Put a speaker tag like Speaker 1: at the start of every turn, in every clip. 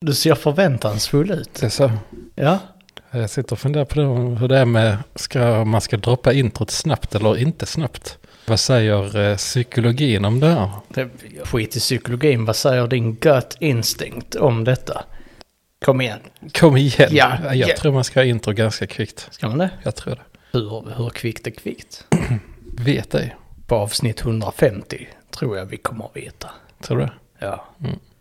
Speaker 1: Du ser förväntansfull ut.
Speaker 2: Det är eh, så.
Speaker 1: Ja.
Speaker 2: Jag sitter och funderar på det, hur det är med ska, om man ska droppa introt snabbt eller inte snabbt. Vad säger eh, psykologin om det här?
Speaker 1: Det- Skit i psykologin, vad säger din gut instinct om detta? Kom igen,
Speaker 2: Kom igen!
Speaker 1: Ja,
Speaker 2: jag
Speaker 1: ja.
Speaker 2: tror man ska ha intro ganska kvickt.
Speaker 1: ska man det?
Speaker 2: Jag tror det.
Speaker 1: Hur, hur kvickt är kvickt?
Speaker 2: Vet ej.
Speaker 1: På avsnitt 150 tror jag vi kommer att veta.
Speaker 2: Tror du det?
Speaker 1: Ja,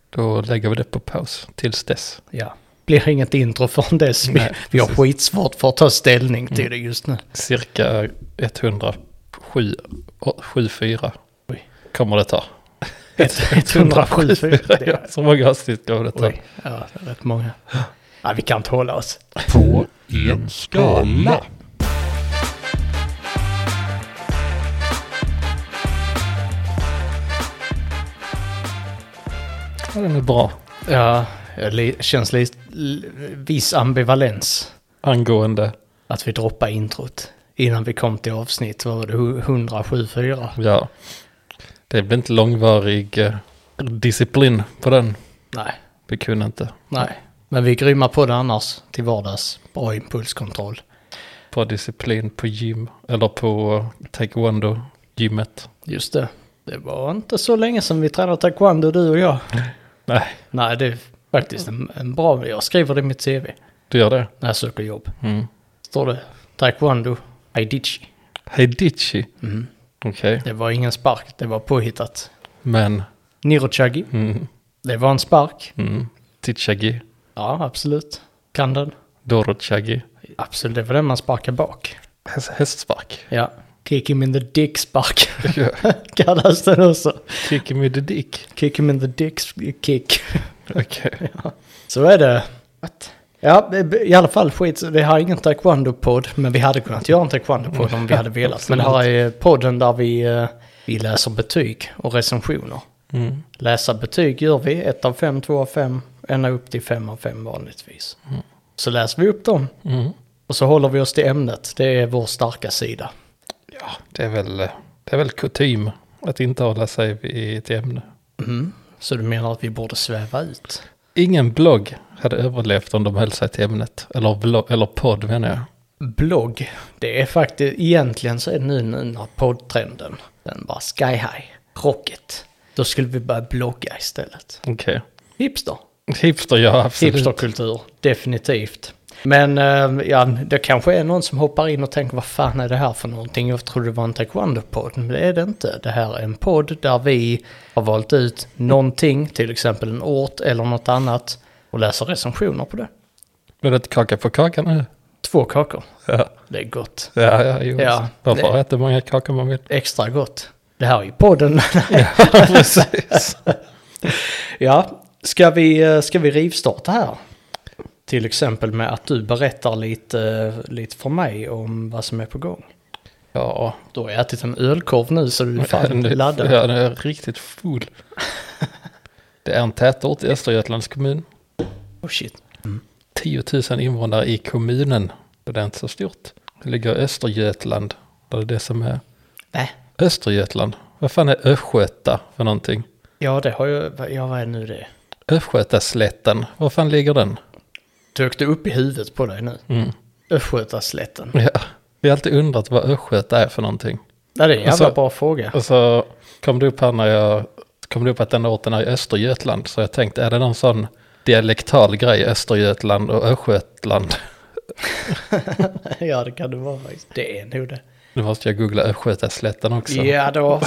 Speaker 2: Då lägger vi det på paus tills dess.
Speaker 1: ja. Blir inget intro förrän dess. Vi,
Speaker 2: Nej,
Speaker 1: vi har
Speaker 2: precis.
Speaker 1: skitsvårt för att ta ställning till det just nu.
Speaker 2: Cirka 107, å- 74
Speaker 1: Oj.
Speaker 2: kommer det ta.
Speaker 1: 107 det-
Speaker 2: Så många avsnitt kommer det ta.
Speaker 1: Oj, ja, det är rätt många. Ja, vi kan inte hålla oss.
Speaker 3: på en skala.
Speaker 2: Ja, den är bra.
Speaker 1: Ja, det li- känns lite li- viss ambivalens
Speaker 2: Angående,
Speaker 1: att vi droppar introt. Innan vi kom till avsnitt var det 107,4.
Speaker 2: ja. Det blir inte långvarig eh, disciplin på den.
Speaker 1: Nej,
Speaker 2: Vi kunde inte.
Speaker 1: nej. Men vi är grymma på det annars till vardags. Bra impulskontroll.
Speaker 2: På disciplin på gym. Eller på taekwondo-gymmet.
Speaker 1: Just det. Det var inte så länge sedan vi tränade taekwondo du och jag.
Speaker 2: Nej,
Speaker 1: Nej, det är faktiskt en, en bra... Jag skriver det i mitt CV
Speaker 2: du gör det?
Speaker 1: när jag söker jobb.
Speaker 2: Mm.
Speaker 1: Står det taekwondo, aidichi.
Speaker 2: Heidichi. Okej,
Speaker 1: Det var ingen spark, det var påhittat.
Speaker 2: men...
Speaker 1: Nirochagi,
Speaker 2: Mm,
Speaker 1: det var en spark.
Speaker 2: mm. Tichagi,
Speaker 1: Ja, absolut. Kan den.
Speaker 2: Dorochagi.
Speaker 1: Absolut, det var den man sparkar bak.
Speaker 2: Häst, hästspark.
Speaker 1: Ja. Kick him in the dick spark
Speaker 2: Ja.
Speaker 1: kallas den också.
Speaker 2: Kick med the dick.
Speaker 1: Kick him in the dick kick.
Speaker 2: Okej.
Speaker 1: Så är det. Ja, i alla fall skit. Det här är ingen taekwondo-podd, men vi hade kunnat göra en taekwondo-podd om vi hade velat. Mm. Men det här är podden där vi, eh, vi läser betyg och recensioner.
Speaker 2: Mm.
Speaker 1: Läsa betyg gör vi, 1 av 5, 2 av 5, ända upp till 5 av 5 vanligtvis. Så läser vi upp dem
Speaker 2: Mm.
Speaker 1: och så håller vi oss till ämnet. Det är vår starka sida.
Speaker 2: Ja, det är väl, det är väl kutym att inte hålla sig i ett ämne.
Speaker 1: Mm. Så du menar att vi borde sväva ut?
Speaker 2: Ingen blogg hade överlevt om de höll sig till ämnet. Eller, blogg, eller podd menar jag.
Speaker 1: Blogg, det är faktiskt, egentligen så är det nu nu när poddtrenden, den bara sky high, rocket. Då skulle vi börja blogga istället.
Speaker 2: Okej.
Speaker 1: Hipster.
Speaker 2: Hipster, ja absolut.
Speaker 1: Hipsterkultur, definitivt. Men eh, ja, det kanske är någon som hoppar in och tänker vad fan är det här för någonting? Jag trodde det var en taekwondo-podd, men det är det inte. Det här är en podd där vi har valt ut någonting, till exempel en ort eller något annat, och läser recensioner på det.
Speaker 2: Blir det inte kaka på kaka nu?
Speaker 1: Två kakor,
Speaker 2: Ja,
Speaker 1: det är gott.
Speaker 2: ja, ja jo.
Speaker 1: Ja,
Speaker 2: Man
Speaker 1: det-
Speaker 2: får äta många kakor man vill.
Speaker 1: Extra gott. Det här är ju podden.
Speaker 2: Precis.
Speaker 1: ja, ska vi, eh, ska vi rivstarta här? Till exempel med att du berättar lite, eh, lite för mig om vad som är på gång.
Speaker 2: Ja,
Speaker 1: Du har ätit en ölkorv nu så du är fan
Speaker 2: nu-
Speaker 1: laddad.
Speaker 2: Ja, nu är jag riktigt full. Det är en tätort i Östergötlands kommun.
Speaker 1: Oh shit.
Speaker 2: 10 000 invånare i kommunen. Så det är inte så stort. Det ligger i Östergötland. Det är det som är
Speaker 1: Nej.
Speaker 2: Östergötland. Vad fan är Östgöta för någonting?
Speaker 1: Ja, det har jag. Ja, vad är nu det?
Speaker 2: Östgötaslätten. Var fan ligger den?
Speaker 1: Dök det upp i huvudet på dig nu?
Speaker 2: Mm.
Speaker 1: Östgötaslätten.
Speaker 2: Ja. Vi har alltid undrat vad Östgöta är för någonting.
Speaker 1: Ja, det är en jävla
Speaker 2: Alltså-
Speaker 1: bra fråga.
Speaker 2: Och så Alltså, kom det upp här när jag kom det upp att den orten är i Östergötland. Så jag tänkte, är det någon sån dialektal grej Östergötland och Östgötland?
Speaker 1: ja, det kan det vara faktiskt. Det är nog det.
Speaker 2: Nu måste jag googla Östgötaslätten också.
Speaker 1: Ja, då.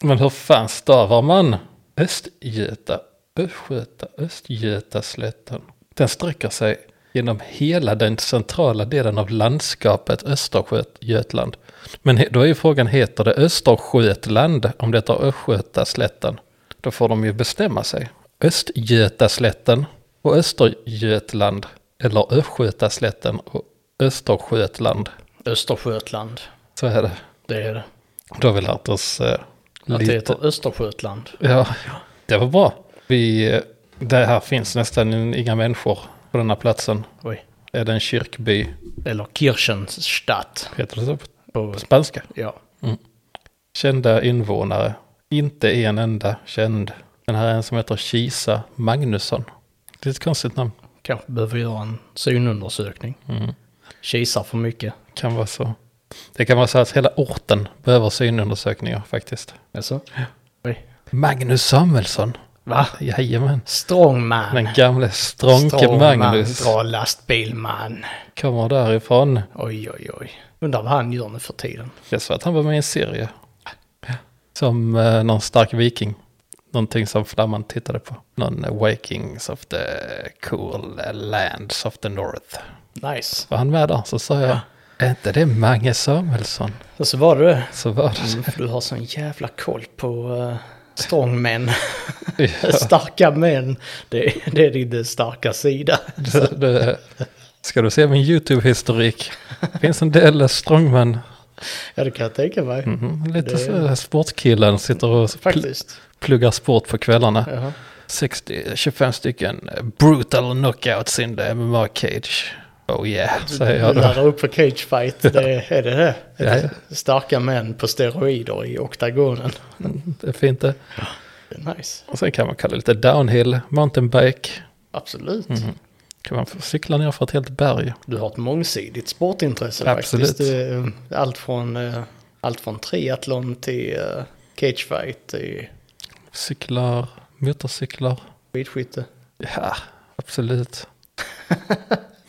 Speaker 2: Men hur fan stavar man Östgöta, Östgöta, Östgötaslätten? Den sträcker sig genom hela den centrala delen av landskapet Östergötland. Men he- då är ju frågan, heter det Östergötland om det heter Östgötaslätten? Då får de ju bestämma sig. Östgötaslätten och Östergötland. Eller Östgötaslätten och Östergötland.
Speaker 1: Österskötland.
Speaker 2: Så är det.
Speaker 1: Det är det.
Speaker 2: Då har vi lärt oss eh,
Speaker 1: Att det
Speaker 2: lite-
Speaker 1: heter Österskötland.
Speaker 2: Ja, det var bra. Vi, eh, det här finns nästan inga människor på den här platsen.
Speaker 1: Oj.
Speaker 2: Är det en kyrkby?
Speaker 1: Eller Kirchenstadt.
Speaker 2: Heter det så på
Speaker 1: På,
Speaker 2: spanska?
Speaker 1: ja.
Speaker 2: Kända invånare. Inte en enda känd. Den här är en som heter Kisa Magnusson. Det är ett konstigt namn.
Speaker 1: Kanske behöver göra en synundersökning.
Speaker 2: Mm.
Speaker 1: Kisar för mycket.
Speaker 2: Kan vara så. Det kan vara så att hela orten behöver synundersökningar faktiskt.
Speaker 1: Alltså. Oj.
Speaker 2: Magnus Samuelsson.
Speaker 1: Va?
Speaker 2: Jajamän.
Speaker 1: Strongman.
Speaker 2: Den gamle stronke Magnus
Speaker 1: Dra lastbilman.
Speaker 2: kommer därifrån.
Speaker 1: Oj, oj, oj. Undrar vad han gör nu för tiden.
Speaker 2: Jag sa att han var med i en serie. Som eh, någon stark viking. Någonting som flamman tittade på. Någon eh, Vikings of the cool eh, lands of the north.
Speaker 1: Nice.
Speaker 2: Var han med där? Så sa jag, är inte det Mange Samuelsson?
Speaker 1: Och så var du det.
Speaker 2: Så var det.
Speaker 1: Mm, för du har sån jävla koll på uh, strongmen. Mm.
Speaker 2: Ja,
Speaker 1: Starka män. Det, det är din starka sida.
Speaker 2: det, det. Ska du se min YouTube-historik? Finns en del eh, strongman.
Speaker 1: Ja, det kan jag tänka mig.
Speaker 2: Mhm, lite
Speaker 1: Det-
Speaker 2: så här sportkillen sitter och pl-
Speaker 1: Faktiskt.
Speaker 2: pluggar sport på kvällarna.
Speaker 1: Jaha.
Speaker 2: 60, 25 stycken brutal knockouts in the MMA cage. Oh yeah, säger
Speaker 1: Du
Speaker 2: jag då.
Speaker 1: laddar upp för cagefight. Det är det det.
Speaker 2: Ja,
Speaker 1: Starka män på steroider i oktagonen.
Speaker 2: det är fint det.
Speaker 1: Nice.
Speaker 2: Och sen kan man kalla det lite downhill, mountainbike.
Speaker 1: Absolut.
Speaker 2: Mhm. Kan man få cykla ner för ett helt berg.
Speaker 1: Du har ett mångsidigt sportintresse
Speaker 2: Absolut.
Speaker 1: faktiskt. Du, eh, Allt från, eh, allt från triathlon till eh, cagefight till
Speaker 2: Cyklar, motorcyklar.
Speaker 1: skidskytte.
Speaker 2: Ja, absolut.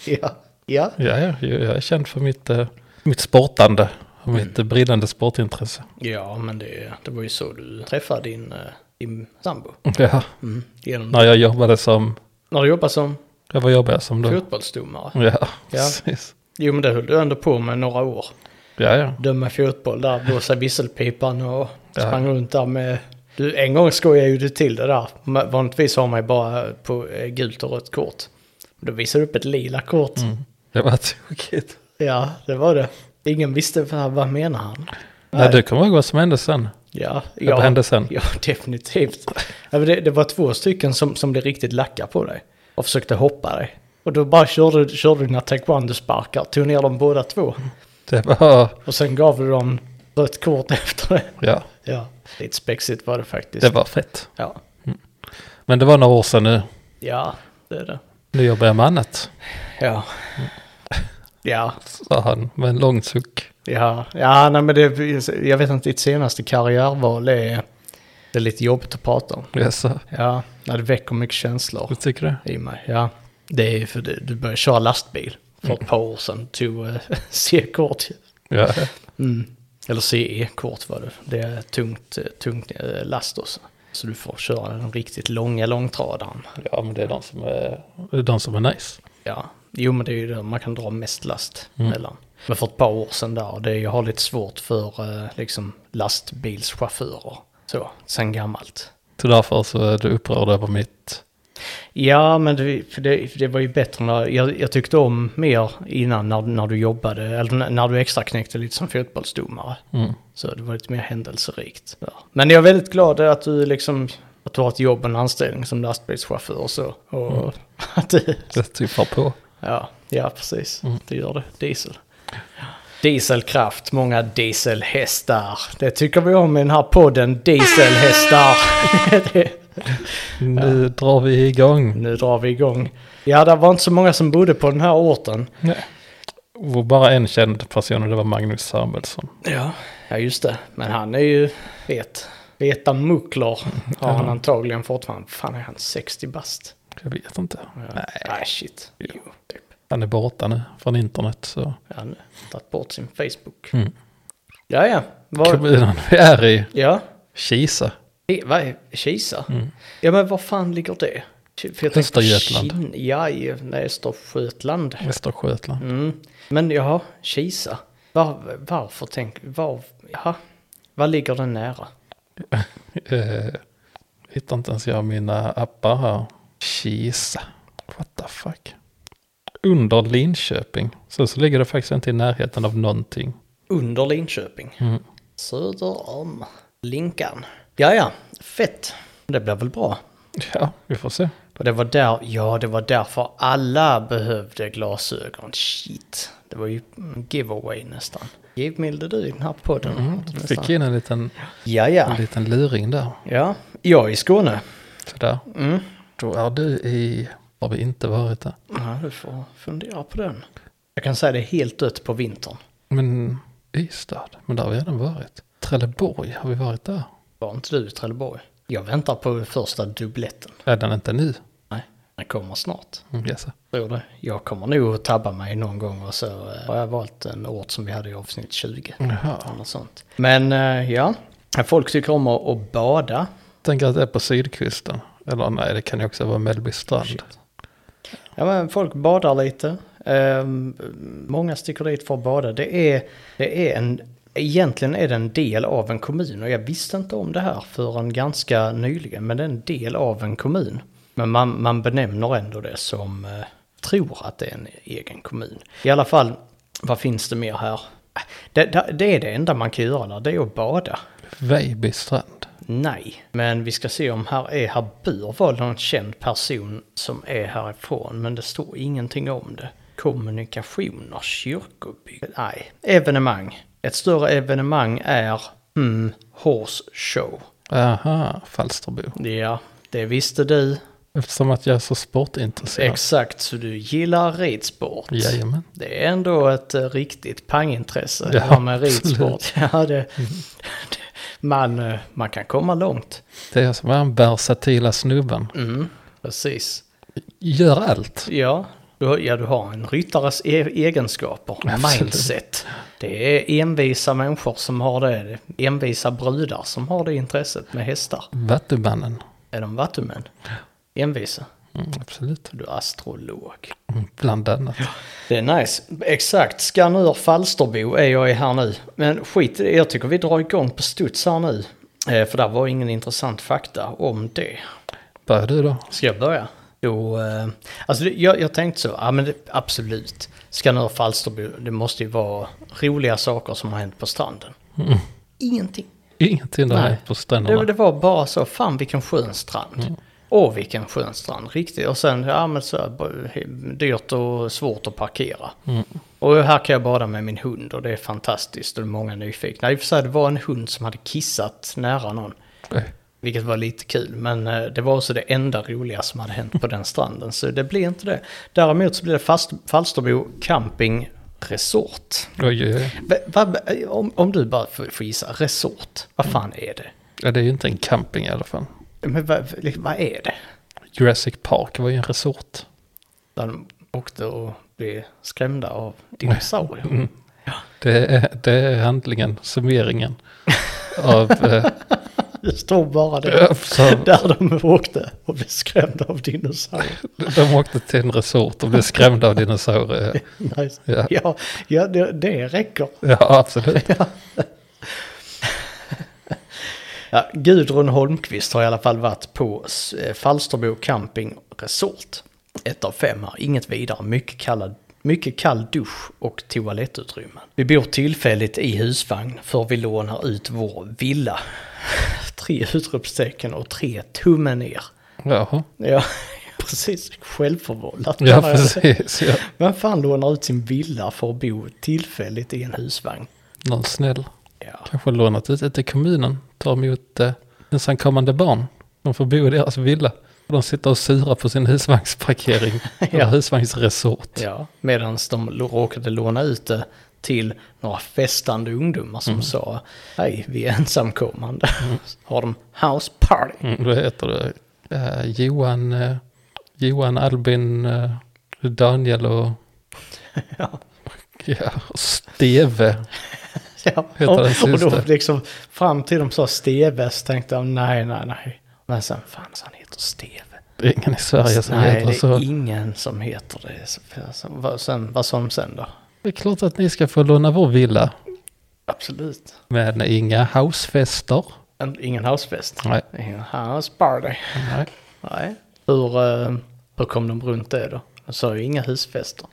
Speaker 1: Ja. ja,
Speaker 2: Ja, ja, jag jag är känd för mitt, eh, mitt sportande och mitt eh, brinnande sportintresse.
Speaker 1: ja men det, det var ju så du träffade din, eh, din sambo.
Speaker 2: Ja,
Speaker 1: Mm. Genom,
Speaker 2: när jag jobbade som,
Speaker 1: När du jobbade som
Speaker 2: ja, vad jobbade jag som då?
Speaker 1: fotbollsdomare.
Speaker 2: Ja,
Speaker 1: Ja.
Speaker 2: precis.
Speaker 1: Jo, men det höll du ändå på med några år.
Speaker 2: Ja, ja.
Speaker 1: döma fotboll där, blåsa visselpipan och
Speaker 2: Ja.
Speaker 1: sprang runt där med... Du, en gång skojade ju du till det där. Ma- Vanligtvis har man ju bara på eh, gult och rött kort. Då visade du upp ett lila kort.
Speaker 2: Det var tokigt.
Speaker 1: Ja, det var det. Ingen visste vad, vad menar han.
Speaker 2: Nej, du kommer ihåg vad som hände sen?
Speaker 1: Ja,
Speaker 2: Vad
Speaker 1: ja,
Speaker 2: hände sen?
Speaker 1: ja definitivt. Ja, men det, det var två stycken som, som blev riktigt lacka på dig och försökte hoppa dig. Och då bara körde, du- körde du dina taekwondo-sparkar, tog ner dem båda två.
Speaker 2: Det var,
Speaker 1: Och sen gav du dem rött kort efter det.
Speaker 2: ja,
Speaker 1: Ja, lite spexigt var det faktiskt.
Speaker 2: det var fett.
Speaker 1: Ja,
Speaker 2: Men det var några år sedan nu.
Speaker 1: ja det är det.
Speaker 2: Nu jobbar jag med annat,
Speaker 1: Ja. Ja,
Speaker 2: sa han med en lång suck.
Speaker 1: ja, ja nej, men det, jag vet inte, ditt senaste karriärval är, det är lite jobbigt att prata om.
Speaker 2: Jag sa,
Speaker 1: Ja, nej, det väcker mycket känslor
Speaker 2: vad tycker du?
Speaker 1: i mig. Ja, det är för det, du började köra lastbil för
Speaker 2: Mm.
Speaker 1: ett par år sedan, tog eh, C-kort.
Speaker 2: Ja,
Speaker 1: Mm. Eller CE-kort var det. Det är tungt, eh, tungt eh, last också. Så du får köra den riktigt långa långtradaren.
Speaker 2: ja men det är de som är, det är de som är nice.
Speaker 1: Ja, jo men det är ju där man kan dra mest last mellan. Men för ett par år sedan där, det, jag har lite svårt för eh, liksom lastbilschaufförer. Så, sen gammalt.
Speaker 2: Så därför så är du upprörd över mitt,
Speaker 1: Ja, men det, för det, för det var ju bättre när, jag, jag tyckte om mer innan när, när du jobbade, eller när- när du extra knäckte lite som fotbollsdomare.
Speaker 2: mm,
Speaker 1: Så det var lite mer händelserikt. Ja. Men jag är väldigt glad att du liksom, att du har ett jobb och en anställning som lastbilschaufför och så. Och att du
Speaker 2: det tuffar på.
Speaker 1: Ja, ja precis. Det gör det. Diesel. Dieselkraft, många dieselhästar. Det tycker vi om i den här podden, dieselhästar. Det-
Speaker 2: Nu drar vi igång.
Speaker 1: nu drar vi igång. Ja, det var inte så många som bodde på den här orten.
Speaker 2: Och bara en känd person och det var Magnus Samuelsson.
Speaker 1: Ja, ja just det. Men han är ju vet. Veta mucklar har han antagligen fortfarande. Fan är han 60 bast?
Speaker 2: Jag vet inte.
Speaker 1: Nej. Nej, shit. Jo, typ.
Speaker 2: Han är borta nu från internet så.
Speaker 1: Han har tagit bort sin Facebook.
Speaker 2: Mm.
Speaker 1: Ja, ja. Var,
Speaker 2: Kommunen vi är i,
Speaker 1: ja.
Speaker 2: Kisa.
Speaker 1: I- Vad är Kisa? Ja men var fan ligger det? Ty- För jag tänkte
Speaker 2: Mm. Östergötland.
Speaker 1: Kin- Ja, i nej, Östergötland.
Speaker 2: Västergötland.
Speaker 1: Mm. Men jaha, Kisa. Var, varför tänk, var, jaha, vad ligger den nära?
Speaker 2: Eh, hittar inte ens jag mina appar här. Kisa. What the fuck? Under Linköping. Så, så ligger det faktiskt inte i närheten av någonting.
Speaker 1: Under Linköping.
Speaker 2: Mm.
Speaker 1: Söder om Linkan. Ja, ja, fett. Det blir väl bra.
Speaker 2: Ja, vi får se.
Speaker 1: Och det var där, ja det var därför alla behövde glasögon. Shit, det var ju en giveaway nästan. givmilde du i den här podden.
Speaker 2: Mm, fick in en liten,
Speaker 1: Ja, ja.
Speaker 2: en liten luring där.
Speaker 1: Ja, jag är i Skåne.
Speaker 2: Sådär.
Speaker 1: Mm.
Speaker 2: Då är du i, har vi inte varit där.
Speaker 1: Ja, du får fundera på den. Jag kan säga det är helt dött på vintern.
Speaker 2: Men Ystad, men där har vi redan varit. Trelleborg, har vi varit där?
Speaker 1: Var inte du i Trelleborg? Jag väntar på första dubbletten.
Speaker 2: Redan inte nu.
Speaker 1: Nej, den kommer snart.
Speaker 2: Mm, jaså.
Speaker 1: Tror det. Jag kommer nog att tabba mig någon gång och så eh, har jag valt en ort som vi hade i avsnitt 20.
Speaker 2: Jaha.
Speaker 1: Eller något sånt. Men eh, ja, folk tycker om att, att bada.
Speaker 2: Tänker att det är på sydkusten. Eller nej, det kan ju också vara Mellby strand.
Speaker 1: Ja, men folk badar lite. Ehm, många sticker dit för att bada. Det är, det är en, egentligen är det en del av en kommun och jag visste inte om det här förrän ganska nyligen. Men det är en del av en kommun. Men man, man benämner ändå det som eh, tror att det är en egen kommun. I alla fall, vad finns det mer här? Det, det, det är det enda man kan göra där, det är att bada.
Speaker 2: Vejby strand.
Speaker 1: Nej, men vi ska se om här är här bör vara någon känd person som är härifrån, men det står ingenting om det. Kommunikationer, kyrkobygg. Nej, evenemang. Ett större evenemang är mm, Horse Show.
Speaker 2: Aha, Falsterbo.
Speaker 1: Ja, det visste du.
Speaker 2: Eftersom att jag är så sportintresserad.
Speaker 1: Exakt, så du gillar ridsport.
Speaker 2: Jajamän.
Speaker 1: Det är ändå ett eh, riktigt pangintresse, det
Speaker 2: Ja,
Speaker 1: här med ridsport.
Speaker 2: absolut.
Speaker 1: Ja, det, det, man, eh, man kan komma långt.
Speaker 2: Det är som den versatila snubben.
Speaker 1: Mm, precis.
Speaker 2: Gör allt.
Speaker 1: Ja, du har, ja, du har en ryttares e- egenskaper,
Speaker 2: Absolut.
Speaker 1: mindset. Det är envisa människor som har det, envisa brudar som har det intresset med hästar.
Speaker 2: Vattumannen.
Speaker 1: Är de vattumän? Envisa.
Speaker 2: Mm, absolut.
Speaker 1: Du är astrolog.
Speaker 2: Mm, Bland annat.
Speaker 1: Det är nice. Exakt, Skanör Falsterbo är jag i här nu. Men skit i det, jag tycker vi drar igång på studs här nu. Eh, För där var ingen intressant fakta om det.
Speaker 2: Börjar du då?
Speaker 1: Ska jag börja? Jo, eh, alltså det- jag, jag tänkte så, ja men det, absolut. Skanör Falsterbo, det måste ju vara roliga saker som har hänt på stranden. Ingenting.
Speaker 2: Ingenting där
Speaker 1: Nej.
Speaker 2: hänt på
Speaker 1: Det,
Speaker 2: stränderna.
Speaker 1: det var bara så, fan vilken skön strand. Åh vilken skön strand, riktigt. Och sen, ja men så här, b- dyrt och svårt att parkera. Och här kan jag bada med min hund och det är fantastiskt och det är många nyfikna. I och för sig, det var en hund som hade kissat nära någon.
Speaker 2: Oj.
Speaker 1: Vilket var lite kul, men eh, det var också det enda roliga som hade hänt på den stranden. Så det blev inte det. Däremot så blev det fast, Falsterbo camping resort.
Speaker 2: Oj, oj, oj.
Speaker 1: Va, va, om, om du bara får, får gissa, resort, vad fan är det?
Speaker 2: Ja, det är ju inte en camping i alla fall.
Speaker 1: Men va, liksom, vad är det?
Speaker 2: Jurassic Park var ju en resort.
Speaker 1: Där de åkte och blev skrämda av dinosaurier.
Speaker 2: Det är, det är handlingen, summeringen av, eh,
Speaker 1: Det står bara det.
Speaker 2: av
Speaker 1: Där de åkte och blev skrämda av dinosaurier.
Speaker 2: De åkte till en resort och blev skrämda av dinosaurier.
Speaker 1: Nice.
Speaker 2: Ja.
Speaker 1: Ja, ja det, det räcker.
Speaker 2: Ja, absolut.
Speaker 1: Ja, Gudrun Holmqvist har i alla fall varit på eh, Falsterbo Camping Resort. Ett av fem här, inget vidare, mycket, kallad, mycket kall dusch och toalettutrymmen. Vi bor tillfälligt i husvagn för vi lånar ut vår villa. Tre utropstecken och tre tummen ner.
Speaker 2: Jaha.
Speaker 1: Ja, precis. Självförvållat.
Speaker 2: Ja,
Speaker 1: menar jag.
Speaker 2: precis. Ja.
Speaker 1: Vem fan lånar ut sin villa för att bo tillfälligt i en husvagn?
Speaker 2: Någon snäll.
Speaker 1: Ja.
Speaker 2: Kanske lånat ut det till kommunen. Tar emot eh, ensamkommande barn. De får bo i deras villa. Och de sitter och surar på sin husvagnsparkering. Eller husvagnsresort.
Speaker 1: Ja, medan de lo- råkade låna ut det till några festande ungdomar
Speaker 2: Mm.
Speaker 1: som sa hej, vi är ensamkommande. Så Har de house party?
Speaker 2: Mm, då heter det eh, Johan, eh, Johan, Albin, eh, Daniel och...
Speaker 1: Ja.
Speaker 2: Ja, Steve.
Speaker 1: Ja.
Speaker 2: Heter
Speaker 1: Och,
Speaker 2: hans
Speaker 1: och då
Speaker 2: syster.
Speaker 1: liksom fram till de sa Steve så tänkte de nej, nej, nej. Men sen fanns han heter Steve.
Speaker 2: Det är ingen i Sverige som
Speaker 1: nej,
Speaker 2: heter
Speaker 1: det är
Speaker 2: så.
Speaker 1: ingen som heter det. Så- så- Vad, sen, vad sa de sen då?
Speaker 2: Det är klart att ni ska få låna vår villa.
Speaker 1: Absolut.
Speaker 2: Men inga housefester.
Speaker 1: En, ingen housefest.
Speaker 2: Nej.
Speaker 1: Ingen house party.
Speaker 2: Nej.
Speaker 1: Nej. Hur, eh, hur kom de runt det då? De sa ju inga husfester.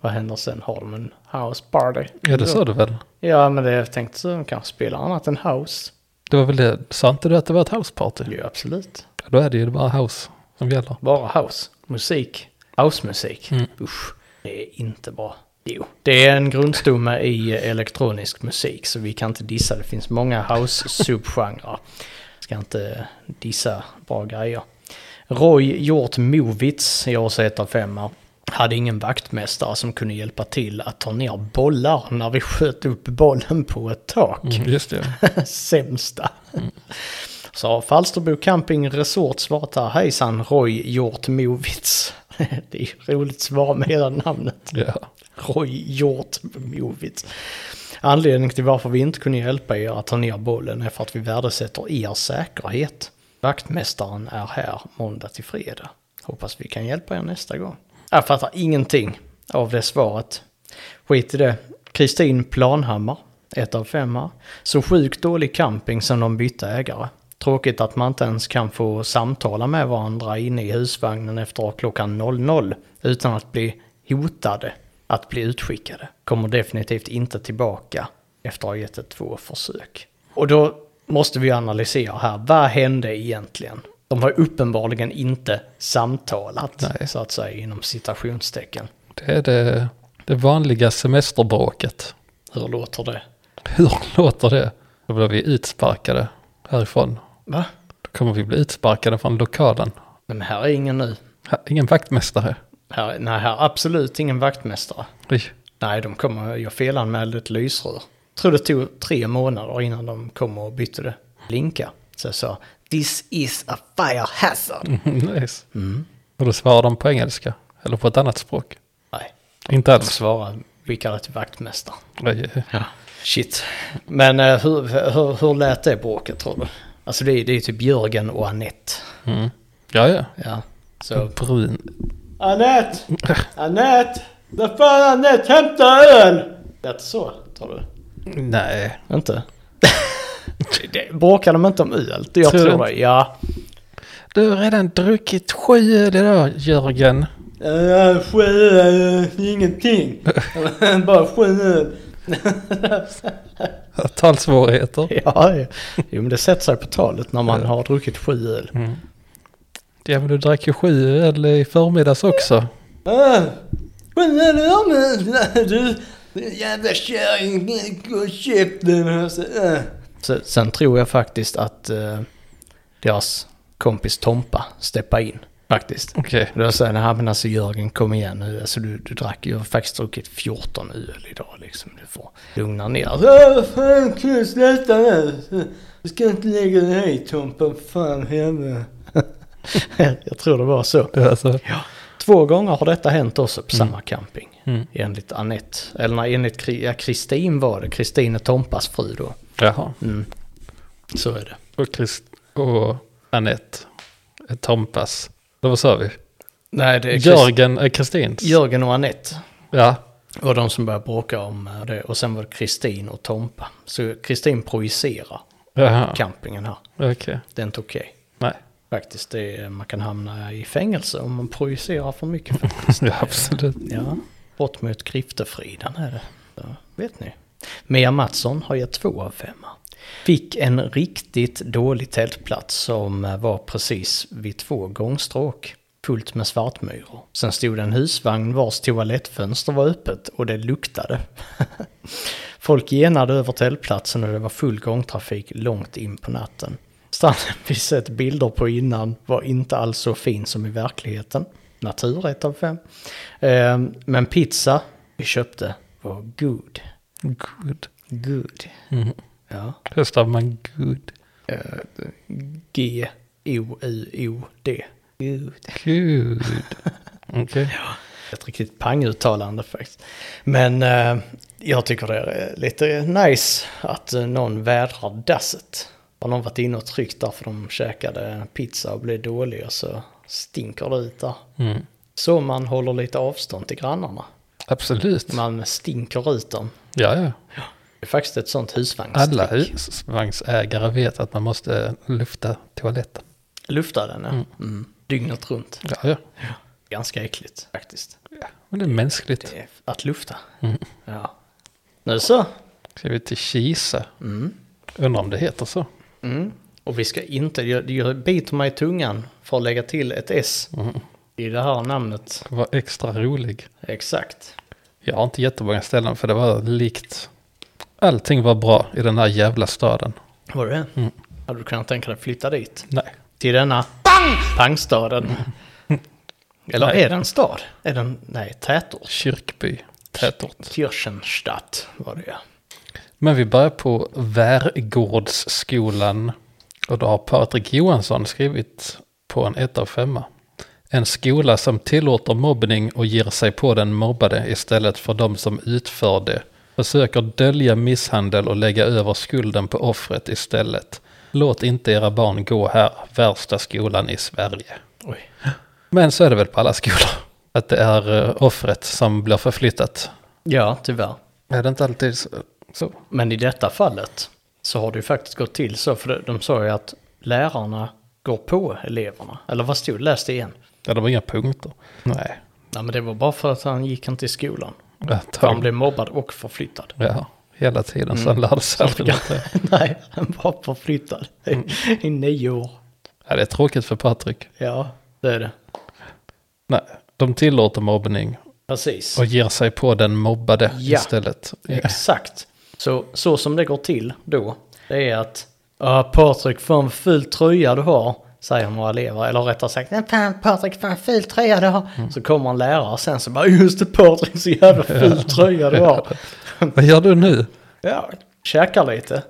Speaker 1: Vad händer sen? Har de en house party?
Speaker 2: Mm. Ja, det sa du väl?
Speaker 1: Ja, men det jag tänkte så de kanske spelar annat än house.
Speaker 2: Det var väl det. Sa inte du att det var ett houseparty?
Speaker 1: Jo, absolut.
Speaker 2: Då är det ju bara house som gäller.
Speaker 1: Bara house. Musik. Housemusik.
Speaker 2: Mm.
Speaker 1: Usch. Det är inte bra. Jo, det är en grundstomme i eh, elektronisk musik så vi kan inte dissa. Det finns många house-subgenrer. Ska inte dissa bra grejer. Roy Hjort Movitz i års 1 av 5 hade ingen vaktmästare som kunde hjälpa till att ta ner bollar när vi sköt upp bollen på ett tak.
Speaker 2: Mm, just det.
Speaker 1: Sämsta. Så Falsterbo Camping Resort svarat här, hejsan Roy Hjort Movitz. Det är roligt svar med hela namnet.
Speaker 2: Ja.
Speaker 1: Roy Hjort Movitz. Anledningen till varför vi inte kunde hjälpa er att ta ner bollen är för att vi värdesätter er säkerhet. Vaktmästaren är här måndag till fredag. Hoppas vi kan hjälpa er nästa gång. Jag fattar ingenting av det svaret. Skit i det. Kristin Planhammar, ett av fem här. Så sjukt dålig camping som de bytte ägare. Tråkigt att man inte ens kan få samtala med varandra inne i husvagnen efter klockan 00 utan att bli hotade att bli utskickade. Kommer definitivt inte tillbaka efter att ha gett ett två försök. Och då måste vi analysera här, vad hände egentligen? De har uppenbarligen inte samtalat,
Speaker 2: Nej.
Speaker 1: så att säga, inom citationstecken.
Speaker 2: Det är det, det vanliga semesterbråket.
Speaker 1: Hur låter det?
Speaker 2: Hur låter det? Då blir vi utsparkade härifrån.
Speaker 1: Va?
Speaker 2: Då kommer vi bli utsparkade från lokalen.
Speaker 1: Nej, Men här är ingen nu.
Speaker 2: Här, ingen vaktmästare.
Speaker 1: Här, nej, här är absolut ingen vaktmästare.
Speaker 2: Oj.
Speaker 1: Nej, de kommer, jag felanmälde ett lysrör. Tror det tog tre månader innan de kom och bytte det. Blinka. Så jag sa, this is a fire hazard.
Speaker 2: Mm, nice. Och då svarar de på engelska. Eller på ett annat språk.
Speaker 1: Nej,
Speaker 2: Inte
Speaker 1: de
Speaker 2: alls.
Speaker 1: svarade, skickade till vaktmästaren.
Speaker 2: Oj.
Speaker 1: Shit. Men eh, hur, hur, hur lät det bråket tror du? Alltså det är, det är typ Jörgen och Annette.
Speaker 2: Mm. Ja, ja.
Speaker 1: Ja. Så.
Speaker 2: Brun.
Speaker 1: Annette! Annette! Där fan Annette, hämta öl! Lät så, tror
Speaker 2: Nej.
Speaker 1: du? Inte? det, bråkar de inte om öl? Jag
Speaker 2: Tror
Speaker 1: tror,
Speaker 2: du
Speaker 1: det, ja.
Speaker 2: Du har redan druckit sju öl idag, Jörgen.
Speaker 1: Uh, sju öl, eh, ingenting. Bara sju öl.
Speaker 2: Talsvårigheter.
Speaker 1: Ja, ja. jo men det sätter sig på talet när man har druckit sju öl.
Speaker 2: Ja, men du drack ju sju öl i förmiddags också.
Speaker 1: Ah, Skynda dig om du! Jävla kärring, gå och köp den! Ah. Sen tror jag faktiskt att eh, deras kompis Tompa steppade in. Faktiskt.
Speaker 2: Okej.
Speaker 1: Då sa jag, nej men alltså Jörgen kom igen nu, alltså du, du drack ju, jag har faktiskt druckit 14 öl idag liksom, du får lugna ner dig. Fan kan du sluta nu? Du ska inte lägga dig i Tompa, fan hemma. jag tror det var så.
Speaker 2: Det är Alltså,
Speaker 1: Två gånger har detta hänt också på samma camping.
Speaker 2: Mm.
Speaker 1: Enligt Anette, eller nej, enligt Kri- ja, Kristin var det, Kristin är Tompas fru då.
Speaker 2: Jaha.
Speaker 1: Så är det.
Speaker 2: Och Chris och Anette. Eh, Tompas. Då vad sa vi?
Speaker 1: Nej, det är Jörg-
Speaker 2: Jörgen är Kristins.
Speaker 1: Jörgen och Anette
Speaker 2: Ja.
Speaker 1: var de som började bråka om eh, det. Och sen var det Kristin och Tompa. Så Kristin projicerar
Speaker 2: Jaha.
Speaker 1: campingen här.
Speaker 2: Okej.
Speaker 1: Det är inte okej.
Speaker 2: Nej.
Speaker 1: Faktiskt, det är, man kan hamna i fängelse om man projicerar för mycket. faktiskt.
Speaker 2: Ja, absolut.
Speaker 1: ja, brott mot griftefriden är det. Ja, vet ni. Mia Mattsson har gett två av femma. Fick en riktigt dålig tältplats som eh, var precis vid två gångstråk. Fullt med svartmyror. Sen stod det en husvagn vars toalettfönster var öppet och det luktade. Folk genade över tältplatsen och det var full gångtrafik långt in på natten. Stranden vi sett bilder på innan var inte alls så fin som i verkligheten. Natur 1 av 5. Men pizza vi köpte var good.
Speaker 2: Good.
Speaker 1: Good.
Speaker 2: Mm.
Speaker 1: Ja.
Speaker 2: Hur stavar man good?
Speaker 1: G-O-U-O-D. Good.
Speaker 2: Good. Okej.
Speaker 1: Ett riktigt panguttalande faktiskt. Men eh, jag tycker det är lite nice att eh, någon vädrar dasset. Har någon varit inne och tryckt där för de käkade pizza och blev dålig och så stinker det ut där.
Speaker 2: Mm.
Speaker 1: Så man håller lite avstånd till grannarna.
Speaker 2: Absolut.
Speaker 1: Man stinker ut dem.
Speaker 2: Ja, ja.
Speaker 1: Det är faktiskt ett sånt husvagnstick.
Speaker 2: Alla husvagnsägare vet att man måste lufta toaletten.
Speaker 1: Lufta den, ja. Mm. Dygnet runt.
Speaker 2: Ja, ja.
Speaker 1: Ganska äckligt faktiskt.
Speaker 2: ja. Men det är mänskligt.
Speaker 1: Det är att lufta. Ja. Nu så.
Speaker 2: Ska vi till Kisa? Undrar om det heter så.
Speaker 1: Mm. Och vi ska inte, jag, jag biter mig i tungan för att
Speaker 2: Mm.
Speaker 1: lägga till ett S i det här namnet.
Speaker 2: Var extra rolig.
Speaker 1: Exakt.
Speaker 2: Jag har inte jättemånga ställen för det var likt. Allting var bra i den här jävla staden.
Speaker 1: Var det
Speaker 2: Mm.
Speaker 1: Hade du kunnat tänka dig att flytta dit?
Speaker 2: Nej.
Speaker 1: Till denna bang! pangstaden. Eller
Speaker 2: Nej.
Speaker 1: är det en stad? Är den, nej, tätort.
Speaker 2: Kyrkby, tätort.
Speaker 1: Kirchenstadt var det ja.
Speaker 2: Men vi börjar på Värgårdsskolan. Och då har Patrik Johansson skrivit på en ett av femma. En skola som tillåter mobbning och ger sig på den mobbade istället för de som utför det. Försöker dölja misshandel och lägga över skulden på offret istället. Låt inte era barn gå här, värsta skolan i Sverige.
Speaker 1: Oj.
Speaker 2: Men så är det väl på alla skolor. Att det är eh, offret som blir förflyttat.
Speaker 1: Ja, tyvärr.
Speaker 2: Är det inte alltid så? så?
Speaker 1: Men i detta fallet så har det ju faktiskt gått till så, för de- de sa ju att lärarna går på eleverna. Eller vad stod det? Läs det igen.
Speaker 2: Ja, det var inga punkter. Nej.
Speaker 1: Nej, men det var bara för att han gick inte i skolan. För han Mm.
Speaker 2: Antagligen.
Speaker 1: blev mobbad och förflyttad.
Speaker 2: Ja, hela tiden. så Sen lärde sig aldrig något.
Speaker 1: Nej, han var förflyttad i, i nio år.
Speaker 2: Ja, det är tråkigt för Patrik.
Speaker 1: Ja, det är det.
Speaker 2: Nej, de tillåter mobbning
Speaker 1: Precis.
Speaker 2: och ger sig på den mobbade
Speaker 1: Ja.
Speaker 2: istället.
Speaker 1: Exakt. Så, så som det går till då, det är att "Ja, Patrik, fan vad ful tröja du har, säger några elever. Eller rättare sagt, "Nej, fan Patrik, fan ful tröja du har. Så kommer en lärare och sen så bara, just det Patrik, så jävla ful tröja du har.
Speaker 2: Vad gör du nu?
Speaker 1: Ja, käkar lite.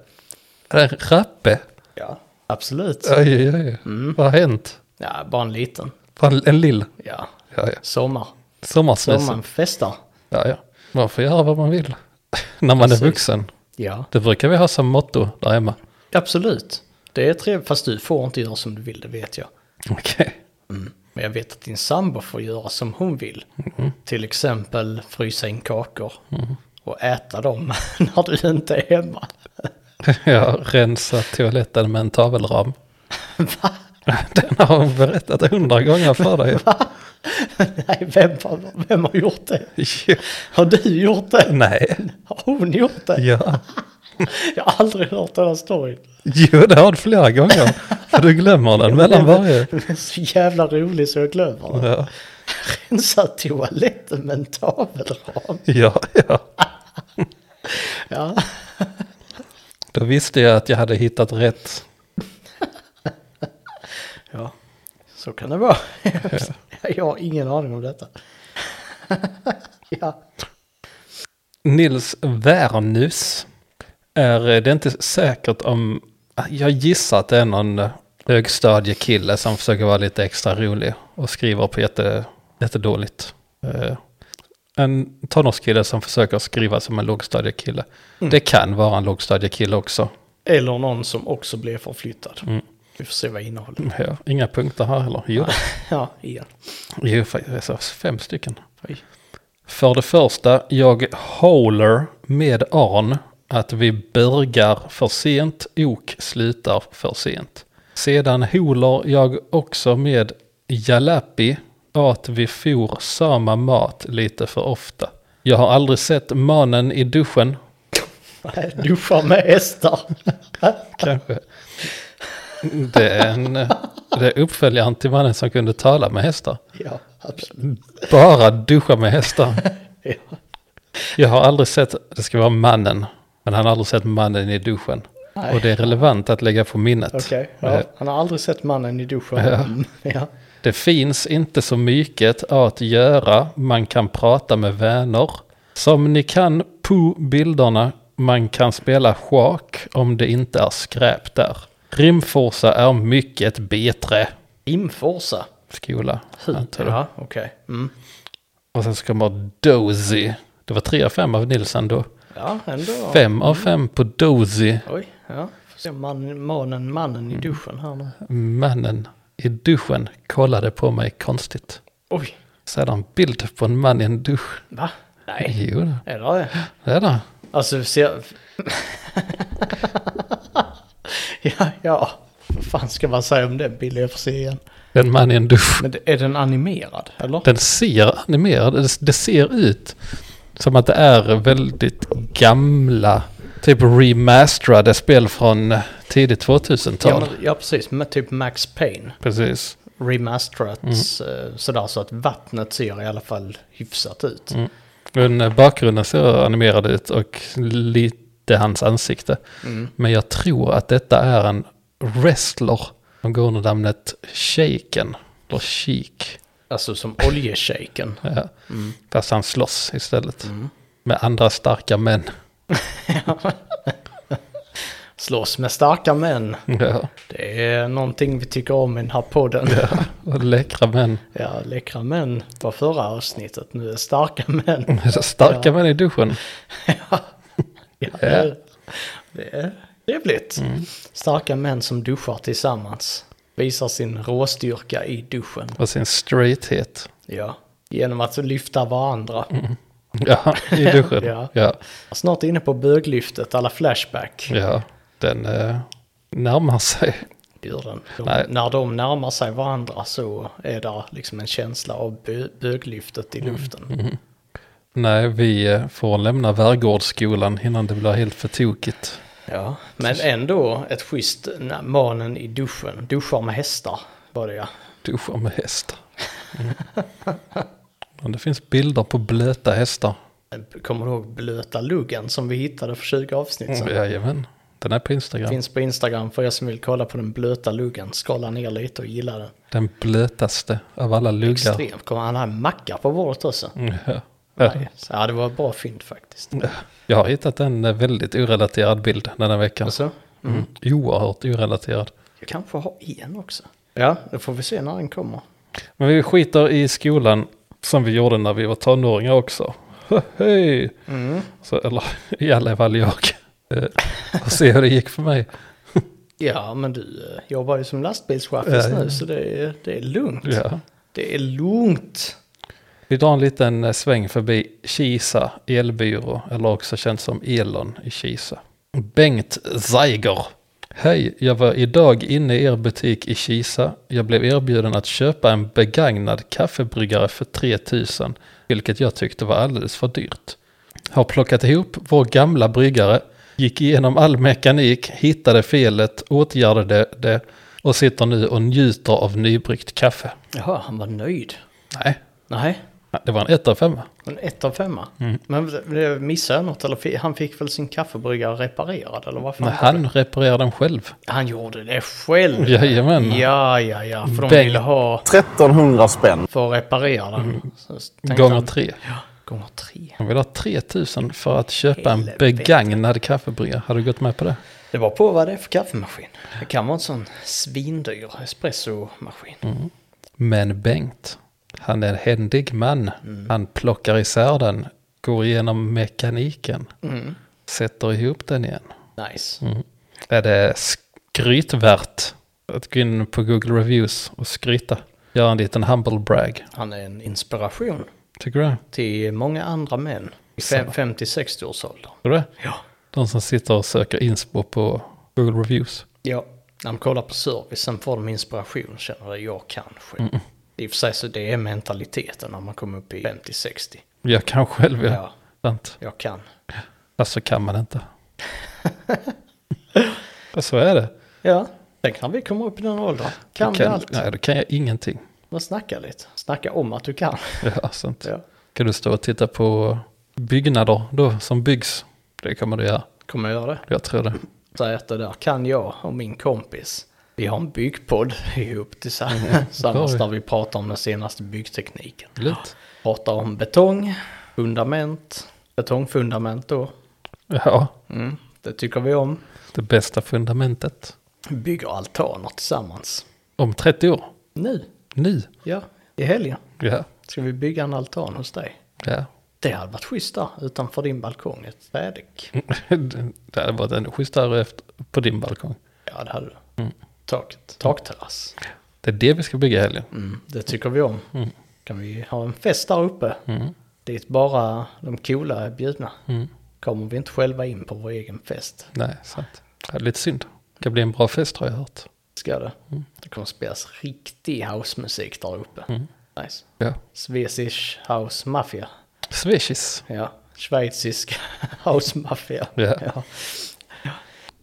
Speaker 2: Är det en rappe?
Speaker 1: Ja, absolut.
Speaker 2: Oj, oj, oj.
Speaker 1: Mm.
Speaker 2: Vad har hänt?
Speaker 1: Ja, bara en liten.
Speaker 2: Fan, En lill?
Speaker 1: Ja,
Speaker 2: Ja, ja.
Speaker 1: sommar.
Speaker 2: Sommarsnusen?
Speaker 1: Sommaren festar.
Speaker 2: Ja, ja. Man får göra vad man vill. När man
Speaker 1: Precis.
Speaker 2: är vuxen.
Speaker 1: Ja,
Speaker 2: Det brukar vi ha som motto där hemma.
Speaker 1: absolut. Det är trevligt, fast du får inte göra som du vill, det vet jag. Mm.
Speaker 2: Okej.
Speaker 1: Men jag vet att din sambo får göra som hon vill.
Speaker 2: Mm-hmm.
Speaker 1: Till exempel frysa in kakor och äta dem när du inte är hemma.
Speaker 2: Jag har rensat toaletten med en tavelram.
Speaker 1: Va?
Speaker 2: Den har hon berättat hundra gånger för dig.
Speaker 1: Nej, vem, har- vem har gjort det?
Speaker 2: Jo,
Speaker 1: Har du gjort det?
Speaker 2: Nej.
Speaker 1: Har hon gjort det?
Speaker 2: Ja.
Speaker 1: Jag har aldrig hört den här storyn.
Speaker 2: Jo, det har du flera gånger. För du glömmer den mellan varje.
Speaker 1: Den är så jävla rolig så jag glömmer den.
Speaker 2: Ja,
Speaker 1: Rensa toaletten med en tavelram.
Speaker 2: ja, ja.
Speaker 1: Ja.
Speaker 2: Då visste jag att jag hade hittat rätt.
Speaker 1: ja, så kan det vara. Jag har ingen aning om detta. Ja.
Speaker 2: Nils Wernus. Är det är inte säkert om... Jag gissar att det är någon högstadiekille som försöker vara lite extra rolig och skriver på jätte, jättedåligt. Eh, En tonårskille som försöker skriva som en lågstadiekille. Det kan vara en lågstadiekille också.
Speaker 1: Eller någon som också blev förflyttad. Vi får se vad innehållet
Speaker 2: Ja, inga punkter här heller. Jo,
Speaker 1: Ja, igen.
Speaker 2: Jo, fa- alltså fem stycken. För det första, jag håller med Arn att vi börjar för sent, ok slutar för sent. Sedan håller jag också med Jalapi att vi for samma mat lite för ofta. Jag har aldrig sett mannen i duschen,
Speaker 1: Nej, Duschar med hästar.
Speaker 2: kanske. Det är, en, det är uppföljaren till mannen som kunde tala med hästar.
Speaker 1: Ja, absolut.
Speaker 2: Bara duscha med hästar.
Speaker 1: Ja.
Speaker 2: Jag har aldrig sett, det ska vara mannen, men han har aldrig sett mannen i duschen.
Speaker 1: Nej.
Speaker 2: Och det är relevant att lägga på minnet.
Speaker 1: Okej,
Speaker 2: Eh,
Speaker 1: ja. han har aldrig sett mannen i duschen.
Speaker 2: Ja.
Speaker 1: Mm, Ja.
Speaker 2: Det finns inte så mycket att göra, man kan prata med vänner. Som ni kan på bilderna, man kan spela schack om det inte är skräp där. Rimforsa är mycket bättre
Speaker 1: Rimforsa.
Speaker 2: skola. antar jag.
Speaker 1: Ja, okej. Mm.
Speaker 2: Och sen så kommer Dozy. Det var 3 av 5 av Nilsen då.
Speaker 1: Ja, ändå.
Speaker 2: Fem av fem på Dozy,
Speaker 1: Oj, ja. Får se om man, mannen, mannen i duschen här nu.
Speaker 2: mannen i duschen, kollade på mig konstigt.
Speaker 1: Oj,
Speaker 2: Sedan en bild på en man i en dusch.
Speaker 1: va? Nej,
Speaker 2: Jo, då.
Speaker 1: är det det?
Speaker 2: det är det.
Speaker 1: Alltså, ser... ja, ja. Vad fan ska man säga om den bilden jag får se igen?
Speaker 2: En man i en dusch.
Speaker 1: Men är den animerad, eller?
Speaker 2: Den ser animerad, det- det ser ut som att det är väldigt gamla, typ remasterade spel från tidigt 2000-tal.
Speaker 1: Ja, men, ja, precis. Med typ Max Payne.
Speaker 2: Precis.
Speaker 1: Remasterat eh, sådär så att vattnet ser i alla fall hyfsat ut.
Speaker 2: Men eh, bakgrunden ser animerad ut och lite hans ansikte. Men jag tror att detta är en wrestler som går under namnet Shaken. Eller Sheik.
Speaker 1: Alltså som oljeshejken.
Speaker 2: Ja. Fast han slåss istället. Med andra starka män.
Speaker 1: Slåss med starka män.
Speaker 2: Ja.
Speaker 1: Det är någonting vi tycker om i den här podden.
Speaker 2: Och läckra män.
Speaker 1: Ja, läckra män var förra avsnittet. Nu är starka män.
Speaker 2: Starka män i duschen.
Speaker 1: Ja, det, är, det är trevligt. Starka män som duschar tillsammans. Visar sin råstyrka i duschen.
Speaker 2: Och sin straighthet.
Speaker 1: Ja. Genom att lyfta varandra.
Speaker 2: Ja, i duschen.
Speaker 1: Ja.
Speaker 2: ja.
Speaker 1: Snart inne på böglyftet, alla flashback.
Speaker 2: Ja, den eh, närmar sig.
Speaker 1: Gör den.
Speaker 2: Nej.
Speaker 1: De, när de närmar sig varandra så är det liksom en känsla av bö, böglyftet i luften.
Speaker 2: Nej, vi eh, får lämna Värgårdsskolan innan det blir helt för tokigt.
Speaker 1: Ja, men ändå ett schysst na- manen i duschen. Duschar med hästar var det ja.
Speaker 2: Duscha med hästar. Mm. Men det finns bilder på blöta hästar.
Speaker 1: Kommer du ihåg blöta luggen som vi hittade för 20
Speaker 2: Mm,
Speaker 1: avsnitt sedan?
Speaker 2: Jajamän, den är på Instagram.
Speaker 1: Finns på Instagram för er som vill kolla på den blöta luggen. Skala ner lite och gilla den.
Speaker 2: Den blötaste av alla luggar.
Speaker 1: Extremt. Kommer han ha en macka på bordet också?
Speaker 2: Mm, Ja. Mm.
Speaker 1: Nej. Så, ja, det var ett bra fynd faktiskt.
Speaker 2: Ja. Jag har hittat en eh, väldigt orelaterad bild den här veckan.
Speaker 1: Alltså,
Speaker 2: Mm. Oerhört orelaterad.
Speaker 1: jag kanske har en också. Ja, det får vi se när den kommer.
Speaker 2: Men vi skiter i skolan som vi gjorde när vi var tonåringar också. Hej! Så, eller i alla fall jag. Eh, Och se hur det gick för mig.
Speaker 1: Ja, men du eh, jobbar ju som
Speaker 2: Ja,
Speaker 1: lastbilschaffis
Speaker 2: ja.
Speaker 1: nu så det är, det är lugnt.
Speaker 2: Ja.
Speaker 1: Det är lugnt.
Speaker 2: Vi drar en liten eh, sväng förbi Kisa elbyrå, eller också känd som Elon i Kisa. Bengt Zeiger. Hej, jag var idag inne i er butik i Kisa. Jag blev erbjuden att köpa en begagnad kaffebryggare för 3000, vilket jag tyckte var alldeles för dyrt. Har plockat ihop vår gamla bryggare, gick igenom all mekanik, hittade felet, åtgärdade det och sitter nu och njuter av nybryggt kaffe.
Speaker 1: Jaha, han var nöjd.
Speaker 2: Nej,
Speaker 1: Nej,
Speaker 2: det var en 1 av 5.
Speaker 1: en ett av femma.
Speaker 2: Mm.
Speaker 1: Men det- missade jag något? Eller fi- han fick väl sin kaffebryggare reparerad? Eller vad fan?
Speaker 2: Men
Speaker 1: var det?
Speaker 2: han reparerar den själv.
Speaker 1: han gjorde det själv.
Speaker 2: Jajamän.
Speaker 1: Ja, ja, ja. För de
Speaker 2: Bengt.
Speaker 1: ville ha
Speaker 4: 1300 spänn.
Speaker 1: för att reparera den. Så tänkte
Speaker 2: Mm. Gånger
Speaker 1: han-
Speaker 2: tre.
Speaker 1: Ja, gånger tre.
Speaker 2: Han vill ha 3000 för att köpa en
Speaker 1: Helvete.
Speaker 2: begagnad kaffebryggare. Har du gått med på det?
Speaker 1: Det var på vad det är för kaffemaskin. Det kan vara en sån svindyr espressomaskin.
Speaker 2: Mm. Men Bengt, han är en händig man.
Speaker 1: Mm.
Speaker 2: Han plockar isär den, går igenom mekaniken,
Speaker 1: Mm.
Speaker 2: sätter ihop den igen. Mm.
Speaker 1: Nice.
Speaker 2: Är det skrytvärt att gå in på Google Reviews och skryta? Göra en liten humble brag.
Speaker 1: Han är en inspiration
Speaker 2: Tycker du det?
Speaker 1: till många andra män i
Speaker 2: Så.
Speaker 1: 50-60-årsåldern.
Speaker 2: Tror du det?
Speaker 1: Ja.
Speaker 2: De som sitter och söker inspo på Google Reviews.
Speaker 1: Ja, när de kollar på servicen får de inspiration, känner det jag kanske.
Speaker 2: Mm.
Speaker 1: I och för sig så det är mentaliteten när man kommer upp i 50-60.
Speaker 2: Jag kan själv, ja.
Speaker 1: Ja.
Speaker 2: Sant.
Speaker 1: Jag kan.
Speaker 2: Fast så kan man inte. Fast så är det.
Speaker 1: Ja, sen kan vi komma upp i den åldern. Kan, vi allt?
Speaker 2: Nej, då kan jag ingenting.
Speaker 1: Men snacka lite. Snacka om att du kan.
Speaker 2: Ja, sant.
Speaker 1: Ja.
Speaker 2: Kan du stå och titta på byggnader då som byggs? Det kommer du göra.
Speaker 1: Kommer jag göra det?
Speaker 2: Jag tror det.
Speaker 1: Säg att det där kan jag och min kompis. Vi har en byggpodd ihop tillsammans. tillsammans
Speaker 2: vi.
Speaker 1: där vi pratar om den senaste byggtekniken.
Speaker 2: Lite.
Speaker 1: Pratar om betong, fundament, betongfundament då.
Speaker 2: Ja,
Speaker 1: Mm, det tycker vi om.
Speaker 2: det bästa fundamentet.
Speaker 1: bygger altaner tillsammans.
Speaker 2: Om 30 år.
Speaker 1: Nu,
Speaker 2: Nu.
Speaker 1: ja, i helgen
Speaker 2: Ja.
Speaker 1: ska vi bygga en altan hos dig.
Speaker 2: ja.
Speaker 1: Det hade varit schysst där, utanför din balkong, ett vädek.
Speaker 2: Det hade varit ännu schysstare efter- på din balkong.
Speaker 1: Ja, det hade du. Taket, Mm. takterrass.
Speaker 2: Det är det vi ska bygga i helgen.
Speaker 1: Mm, Mm. det tycker vi om. Kan vi ha en fest där uppe? Dit bara de coola är bjudna. Kommer vi inte själva in på vår egen fest?
Speaker 2: Nej, sant. Ja, lite synd. Det kan bli en bra fest har jag hört.
Speaker 1: Ska det? Det kommer spelas riktig housemusik där uppe. Nice.
Speaker 2: Ja.
Speaker 1: Svesish house mafia.
Speaker 2: Swishis.
Speaker 1: Ja, schweizisk house mafia.
Speaker 2: Ja.
Speaker 1: Ja.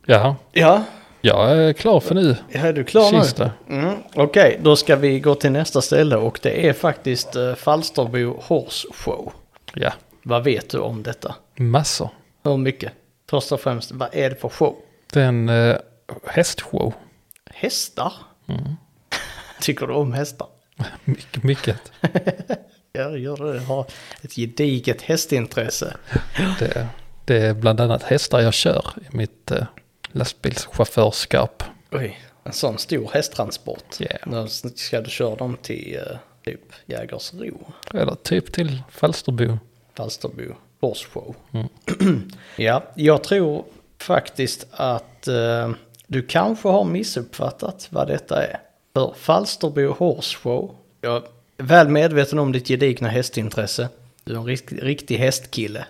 Speaker 2: Ja,
Speaker 1: ja,
Speaker 2: jag är klar för nu.
Speaker 1: är du klar nu?
Speaker 2: Kista.
Speaker 1: Mm, Okej, då ska vi gå till nästa ställe och det är faktiskt eh, Falsterbo Horse Show.
Speaker 2: Ja,
Speaker 1: Vad vet du om detta?
Speaker 2: Massor.
Speaker 1: Hur mycket? Först och främst, vad är det för show?
Speaker 2: Det är en eh, hästshow.
Speaker 1: Hästar? Tycker du om hästar?
Speaker 2: Mycket, mycket.
Speaker 1: Jag gör det. Jag har ett gediget hästintresse.
Speaker 2: Det, det är bland annat hästar jag kör i mitt eh, lastbilschaufförskap.
Speaker 1: Oj, en sån stor hästtransport.
Speaker 2: Ja.
Speaker 1: När ska du köra dem till eh, typ Jägersro,
Speaker 2: Eller typ till Falsterbo.
Speaker 1: Falsterbo, Horsshow? ja, jag tror faktiskt att eh, du kanske har missuppfattat vad detta är. För Falsterbo Horsshow, jag är väl medveten om ditt gedigna hästintresse. Du är en rikt- riktig hästkille.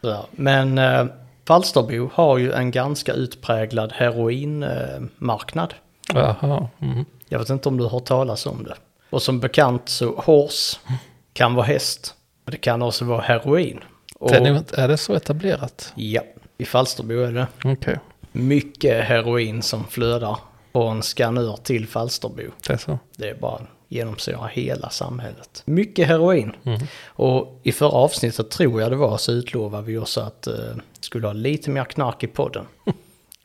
Speaker 1: Sådär. Men eh, Falsterbo har ju en ganska utpräglad heroinmarknad. Eh, marknad.
Speaker 2: Jaha. Mm.
Speaker 1: Jag vet inte om du har hört talas om det. Och som bekant så horse kan vara häst. Men det kan också vara heroin. Och,
Speaker 2: Det är, nog inte- är det så etablerat?
Speaker 1: ja, i Falsterbo är det
Speaker 2: Okej.
Speaker 1: mycket heroin som flödar från Skanör till Falsterbo.
Speaker 2: Det är så.
Speaker 1: Det är bara genomsyrar hela samhället. Mycket heroin. Och i förra avsnittet tror jag det var så utlovade vi också att eh, skulle ha lite mer knark i podden.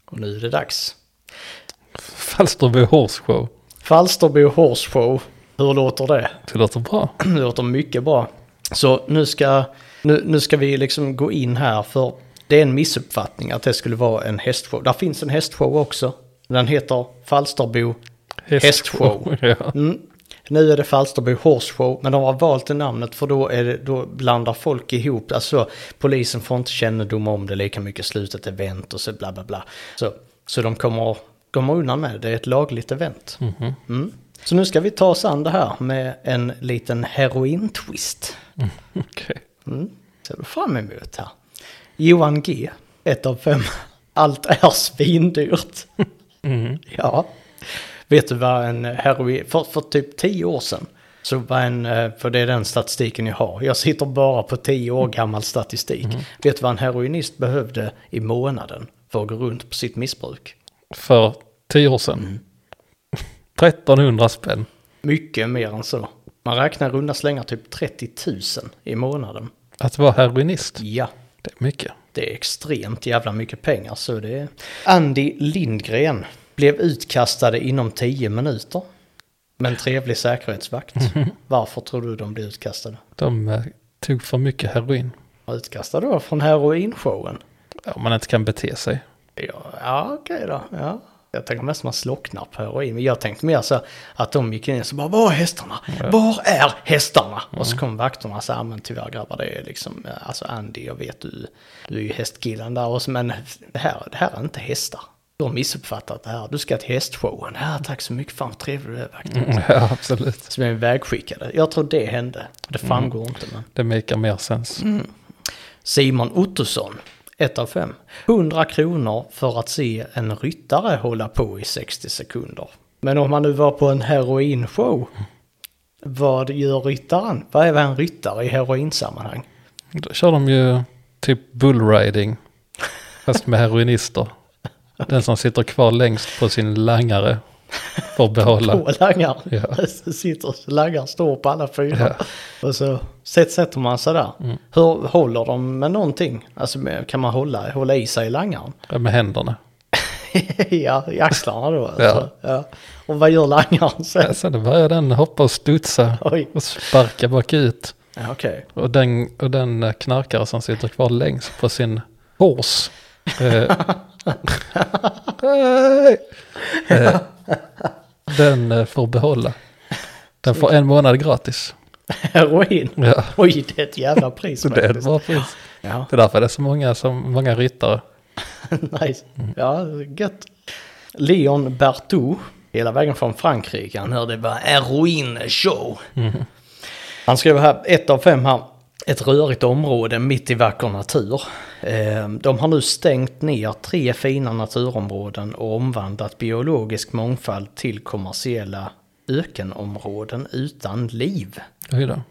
Speaker 1: Och nu är det dags.
Speaker 2: Falsterbo Horse Show.
Speaker 1: Falsterbo Horse Show. Hur låter det?
Speaker 2: Det låter bra.
Speaker 1: Det låter mycket bra. Så nu ska, nu, nu ska vi liksom gå in här för det är en missuppfattning att det skulle vara en hästshow. Där finns en hästshow också. Den heter Falsterbo. Hästshow.
Speaker 2: ja.
Speaker 1: Mm. Nu är det Falsterbo Horse Show, men de har valt det namnet för då, är det, då blandar folk ihop. Alltså polisen får inte kännedom om det lika mycket, slutet event och så bla bla bla. Så, så de kommer, kommer undan med det, det är ett lagligt event. Mm. Så nu ska vi ta oss an det här med en liten heroin-twist.
Speaker 2: Okej.
Speaker 1: Mm. Ser du fram emot här? Johan G. Ett av fem. Allt är svindyrt. Ja. Vet du vad en heroin... För, för typ tio år sedan. Så var en... eh, För det är den statistiken jag har. Jag sitter bara på tio år gammal statistik. Vet du vad en heroinist behövde i månaden för att gå runt på sitt missbruk?
Speaker 2: För tio år sedan.
Speaker 1: Mm.
Speaker 2: 1300 spänn.
Speaker 1: Mycket mer än så. Man räknar i runda slängar typ 30 000 i månaden.
Speaker 2: Att vara heroinist.
Speaker 1: Ja.
Speaker 2: Det är mycket.
Speaker 1: Det är extremt jävla mycket pengar så det är... Andy Lindgren blev utkastade inom 10 minuter. Men trevlig säkerhetsvakt. Varför tror du de blev utkastade?
Speaker 2: De eh, tog för mycket heroin.
Speaker 1: Utkastade då från heroinshowen?
Speaker 2: Ja, om man inte kan bete sig.
Speaker 1: Ja, ja okej då. Ja. Jag tänker mest man slocknar på heroin. Men jag tänkte mer så att de gick in och så bara var är hästarna? Var är hästarna? Och så kom vakterna och sa men tyvärr grabbar det är liksom, eh, alltså Andy jag vet du, du är ju hästkillen där och så, men det här, det här är inte hästar. Du har missuppfattat det här, du ska till hästshowen. Ja, tack så mycket, fan vad trevlig du är vakten.
Speaker 2: Mm, Ja, absolut.
Speaker 1: Så blev vi vägskickade. Jag tror det hände. Det framgår inte men.
Speaker 2: Det maker mer sens.
Speaker 1: Simon Ottosson, 1 av 5. 100 kronor för att se en ryttare hålla på i 60 sekunder. Men om man nu var på en heroinshow, vad gör ryttaren? Vad är en ryttare i heroinsammanhang?
Speaker 2: Då kör de ju typ bullriding. Fast med heroinister. Den som sitter kvar längst på sin langare får behålla.
Speaker 1: På langar.
Speaker 2: Ja.
Speaker 1: Sitter langar, står på alla fyra.
Speaker 2: Ja.
Speaker 1: Och så sätt- sätter man sig där. Hur håller de med någonting? Alltså med- kan man hålla, hålla i sig i langaren?
Speaker 2: Med händerna.
Speaker 1: ja, i axlarna då. Alltså. Ja. Och vad gör langaren sen?
Speaker 2: Ja, Sen börjar den hoppa och studsa
Speaker 1: Oj.
Speaker 2: och sparka bakut.
Speaker 1: Ja, Okej.
Speaker 2: Och den, och den eh, knarkare som sitter kvar längst på sin hors. Eh, Hej! eh, den eh, får behålla. Den får en månad gratis.
Speaker 1: Heroin?
Speaker 2: Ja.
Speaker 1: Oj, det är ett jävla pris
Speaker 2: Det är ett
Speaker 1: faktiskt.
Speaker 2: bra pris.
Speaker 1: Ja,
Speaker 2: Det är därför det är så många, så många ryttare.
Speaker 1: nice. Ja, gött. Leon Bertou, hela vägen från Frankrike, han hörde bara heroin-show.
Speaker 2: Mhm.
Speaker 1: Han skrev här, ett av fem här, ett rörigt område mitt i vacker natur. Eh, De har nu stängt ner tre fina naturområden och omvandlat biologisk mångfald till kommersiella ökenområden utan liv.
Speaker 2: Oj då.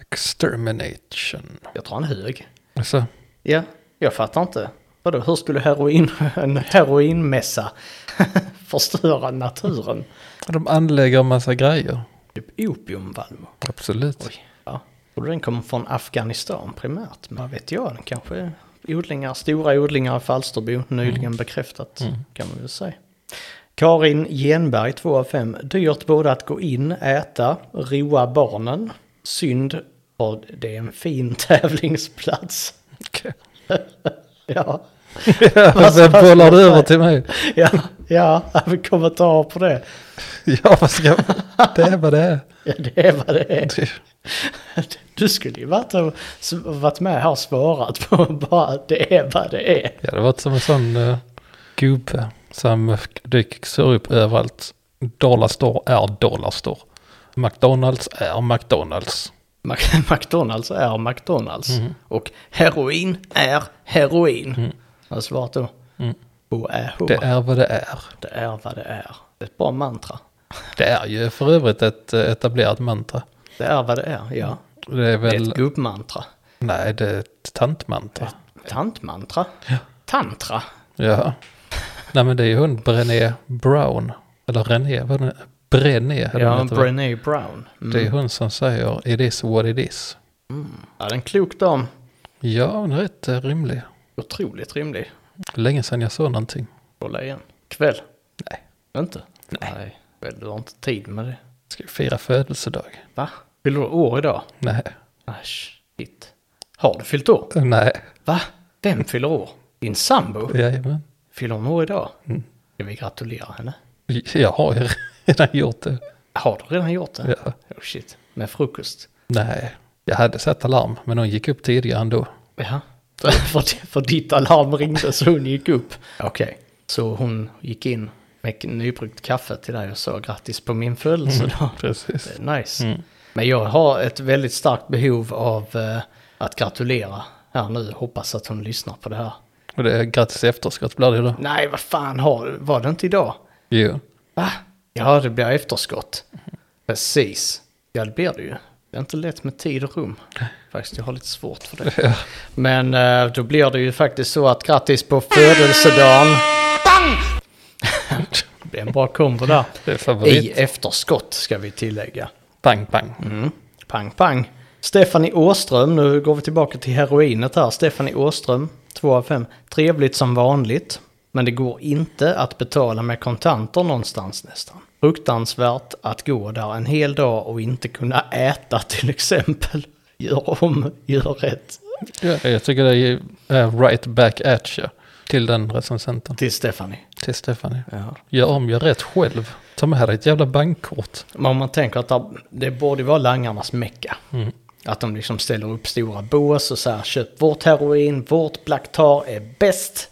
Speaker 2: Extermination.
Speaker 1: Jag tror han är hög.
Speaker 2: Alltså,
Speaker 1: Ja, jag fattar inte. Vadå, hur skulle heroin, en heroinmässa förstöra naturen?
Speaker 2: de anlägger en massa grejer.
Speaker 1: Typ opium, Valmo.
Speaker 2: Absolut.
Speaker 1: Ja. Tror du den kommer från Afghanistan primärt? Men Vad vet jag, den kanske är odlingar, stora odlingar i Falsterbo, nyligen bekräftat kan man väl säga. Karin Genberg, 2 av 5. Dyrt både att gå in, äta, roa barnen. Synd, och det är en fin tävlingsplats. ja.
Speaker 2: Sen bollar du över till mig.
Speaker 1: Ja, ja, jag vill kommentarer på det.
Speaker 2: Ja, vad ska jag... Det är vad det är.
Speaker 1: Ja, det är vad det är.
Speaker 2: Det-
Speaker 1: Du skulle ju varit, och- s- varit med här och svarat på bara att det är vad det är.
Speaker 2: Jag hade varit som en sån eh, gubbe som dyker upp överallt. Dollarstore är Dollarstore. McDonalds är McDonalds.
Speaker 1: Mac- McDonalds är McDonalds.
Speaker 2: Mhm.
Speaker 1: Och heroin är heroin. Jag har svarat då.
Speaker 2: Mm.
Speaker 1: H är H.
Speaker 2: Det är vad det är.
Speaker 1: Det är vad det är. Ett bra mantra.
Speaker 2: Det är ju för övrigt ett eh, etablerat mantra.
Speaker 1: Det är vad det är, ja.
Speaker 2: Det är
Speaker 1: Det
Speaker 2: väl...
Speaker 1: är ett gubbmantra.
Speaker 2: Nej, det är ett tantmantra.
Speaker 1: Tantmantra. Tantra.
Speaker 2: Ja. Nej, men det är ju hon Brené Brown. Eller René, vad är det? Brené. eller vad
Speaker 1: Ja,
Speaker 2: heter det?
Speaker 1: Brené Brown. Mm.
Speaker 2: Det är hon som säger it is what it is.
Speaker 1: Ja, det är en klok dam.
Speaker 2: Ja, hon är rätt eh, rimlig.
Speaker 1: Otroligt rimlig.
Speaker 2: Länge sedan jag såg någonting.
Speaker 1: Kolla igen. Kväll.
Speaker 2: Nej.
Speaker 1: Inte? Nej. Väl, du har inte tid med det.
Speaker 2: Ska vi fira födelsedag?
Speaker 1: Va? Fyller du år idag?
Speaker 2: Nej.
Speaker 1: Asch, shit. Har du fyllt år?
Speaker 2: Nej.
Speaker 1: Va? Mm. Vem fyller år? Din sambo?
Speaker 2: Jajamän.
Speaker 1: Fyller hon år idag? Ska vi gratulera henne?
Speaker 2: Jag har ju redan gjort det.
Speaker 1: Har du redan gjort det?
Speaker 2: Ja.
Speaker 1: Oh shit. Med frukost?
Speaker 2: Nej. Jag hade satt alarm, men hon gick upp tidigare ändå.
Speaker 1: Ja. för, för ditt alarm ringde så hon gick upp. Okej. Så hon gick in med nybryggt kaffe till dig och sa grattis på min födelsedag.
Speaker 2: Precis.
Speaker 1: Det är Nice. Men jag har ett väldigt starkt behov av eh, att gratulera här nu. Hoppas att hon lyssnar på det här.
Speaker 2: Och det är grattis i efterskott blir det då.
Speaker 1: Nej, vad fan har, var det inte idag?
Speaker 2: Jo.
Speaker 1: Va? Ja, det blir efterskott. Precis. Ja, det blir det ju. Det är inte lätt med tid och rum. Faktiskt, jag har lite svårt för det. Men eh, då blir det ju faktiskt så att grattis på födelsedagen. det blir en bra kombo där.
Speaker 2: Det är
Speaker 1: I
Speaker 2: favorit.
Speaker 1: efterskott ska vi tillägga.
Speaker 2: Pang, pang.
Speaker 1: Pang, pang. Stephanie Åström, nu går vi tillbaka till heroinet här. Stephanie Åström, 2 av 5. Trevligt som vanligt, men det går inte att betala med kontanter någonstans nästan. Fruktansvärt att gå där en hel dag och inte kunna äta till exempel. Gör om, gör rätt.
Speaker 2: Ja, jag tycker det är eh, right back at you. Till den recensenten.
Speaker 1: Till Stephanie.
Speaker 2: Till Stefanie. Gör om, gör rätt själv. Ta med dig ett jävla bankkort.
Speaker 1: Men om man tänker att det- det borde vara langarnas mecka. Att de liksom ställer upp stora bås och så här köp vårt heroin, vårt Black Tar är bäst.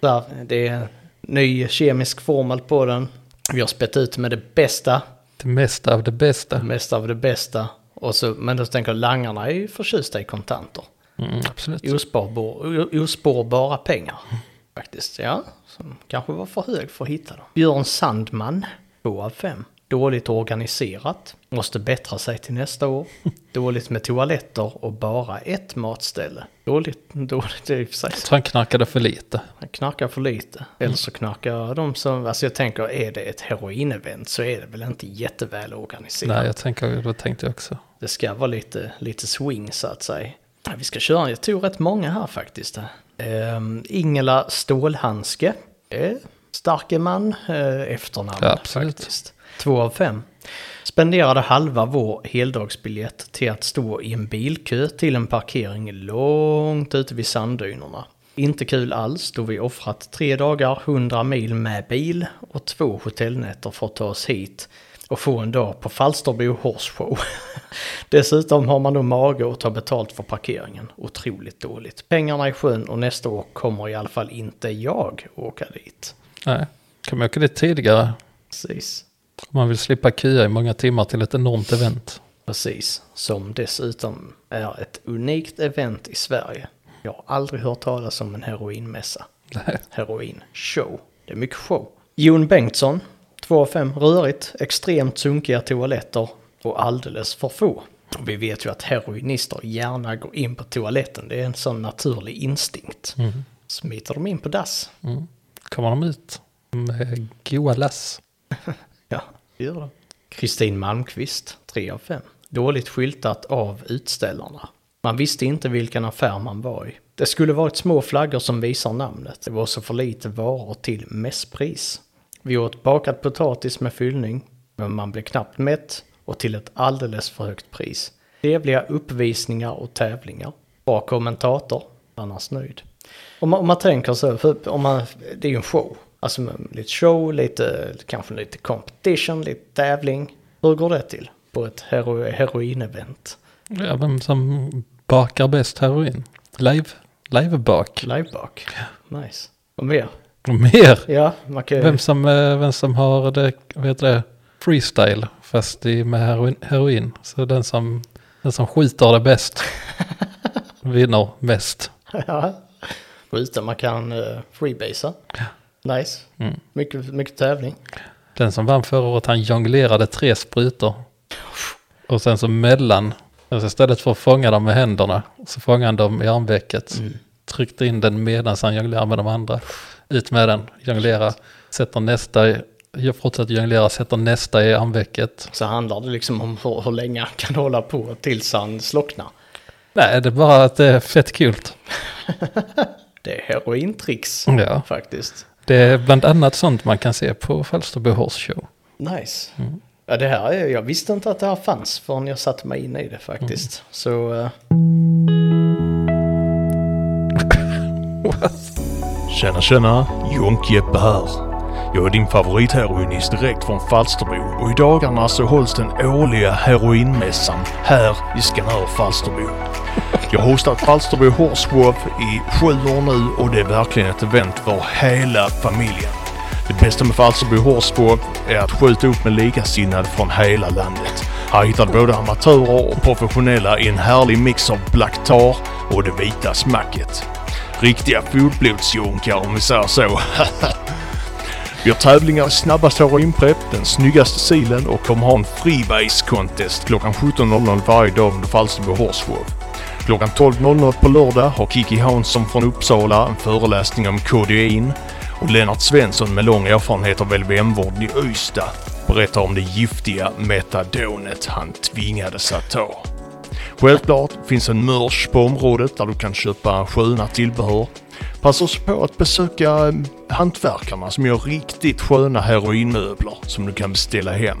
Speaker 1: Så här, det är ny kemisk formel på den. Vi har spett ut med det bästa,
Speaker 2: Det mesta av det bästa.
Speaker 1: mest av det bästa. Och så, men då tänker jag langarna är ju förtjusta i kontanter.
Speaker 2: Mm, absolut.
Speaker 1: Ospårbar, o- ospårbara pengar faktiskt. Ja, som kanske var för hög för att hitta dem. Björn Sandman, 2 av 5. Dåligt organiserat, måste bättra sig till nästa år. Dåligt med toaletter och bara ett matställe. Dåligt, dåligt i och för sig.
Speaker 2: Så han knarkade för lite.
Speaker 1: Han knarkar för lite. Eller så knarkar de som, alltså jag tänker är det ett heroinevent så är det väl inte jätteväl organiserat.
Speaker 2: Nej, jag tänker, då tänkte jag också.
Speaker 1: Det ska vara lite, lite swing så att säga. Ja, Vi ska köra, jag tror rätt många här faktiskt. Ehm, Ingela Stålhandske. Eh, starke man, eh, efternamn
Speaker 2: Ja, absolut.
Speaker 1: faktiskt. Två av fem. Spenderade halva vår heldagsbiljett till att stå i en bilkö till en parkering långt ute vid sanddynerna. Inte kul alls då vi offrat tre dagar, 100 mil med bil och två hotellnätter för att ta oss hit och få en dag på Falsterbo Horse Show. Dessutom har man då mage att ta betalt för parkeringen. Otroligt dåligt. Pengarna är sjön och nästa år kommer i alla fall inte jag åka dit.
Speaker 2: Nej, kan man åka dit tidigare?
Speaker 1: Precis.
Speaker 2: Om man vill slippa köa i många timmar till ett enormt event.
Speaker 1: Precis, som dessutom är ett unikt event i Sverige. Jag har aldrig hört talas om en heroinmässa.
Speaker 2: Nej.
Speaker 1: Heroin-show. Det är mycket show. Jon Bengtsson, 2 av 5, rörigt, extremt sunkiga toaletter och alldeles för få. Och vi vet ju att heroinister gärna går in på toaletten, det är en sån naturlig instinkt. Smiter de in på dass?
Speaker 2: Mm. Kommer de ut med goa lass?
Speaker 1: Ja, det gör de. Kristin Malmqvist, 3 av 5. dåligt skyltat av utställarna. Man visste inte vilken affär man var i. Det skulle varit små flaggor som visar namnet. Det var så för lite varor till mässpris. Vi åt bakad potatis med fyllning, men man blev knappt mätt och till ett alldeles för högt pris. Trevliga uppvisningar och tävlingar. Bra kommentator, annars nöjd. Om man, om man tänker så, för om man, det är ju en show. Alltså med lite show, lite, kanske lite competition, lite tävling. Hur går det till på ett hero, heroinevent?
Speaker 2: Ja, vem som bakar bäst heroin? Live? Livebak?
Speaker 1: Livebak? Nice. Och mer?
Speaker 2: Och Mer!
Speaker 1: Ja, man kan
Speaker 2: Vem som, eh, vem som har det, vad heter det, freestyle, fast i, med heroin, heroin. Så den som, den som skjuter det bäst vinner mest.
Speaker 1: Ja. Skjuta, man kan uh, freebasea. Nice.
Speaker 2: Mm.
Speaker 1: Mycket, mycket tävling.
Speaker 2: Den som vann förra året, han jonglerade tre sprutor. Och sen så mellan, alltså istället för att fånga dem med händerna, så fångade han dem i armvecket. Tryckte in den medan han jonglerade med de andra. Ut med den, jonglera, sätter nästa, i- jag fortsätter jonglera, sätter nästa i armvecket.
Speaker 1: Så handlar det liksom om hur, hur länge han kan hålla på tills han slocknar.
Speaker 2: Nej, det är bara att det är fett kul.
Speaker 1: Det är herointricks
Speaker 2: Ja.
Speaker 1: faktiskt.
Speaker 2: Det är bland annat sånt man kan se på Falsterbo Horse Show.
Speaker 1: Nice. Ja, det här, är- jag visste inte att det här fanns förrän jag satte mig in i det faktiskt. Så... eh,
Speaker 4: Tjena tjena, Junk-Jeppe här. Jag är din favoritheroinist direkt från Falsterbo och i dagarna så hålls den årliga heroinmässan här i Skanör Falsterbo. Jag har hostat Falsterbo Horse Show i sju år nu och det är verkligen ett event för hela familjen. Det bästa med Falsterbo Horse Show är att skjuta upp med likasinnade från hela landet. Här hittar du både amatörer och professionella i en härlig mix av black tar och det vita smacket. Riktiga fullblodsjunkar om vi säger så. vi har tävlingar i snabbast heroinprepp, den snyggaste silen och kommer ha en freebase contest klockan 17.00 varje dag under Falsterbo Horse Show. Klockan 12.00 på lördag har Kiki Hansson från Uppsala en föreläsning om kodein och Lennart Svensson med lång erfarenhet av LVM-vården i Ystad berättar om det giftiga metadonet han tvingades att ta. Självklart finns en merch på området där du kan köpa sköna tillbehör. Passa också på att besöka eh, hantverkarna som gör riktigt sköna heroinmöbler som du kan beställa hem.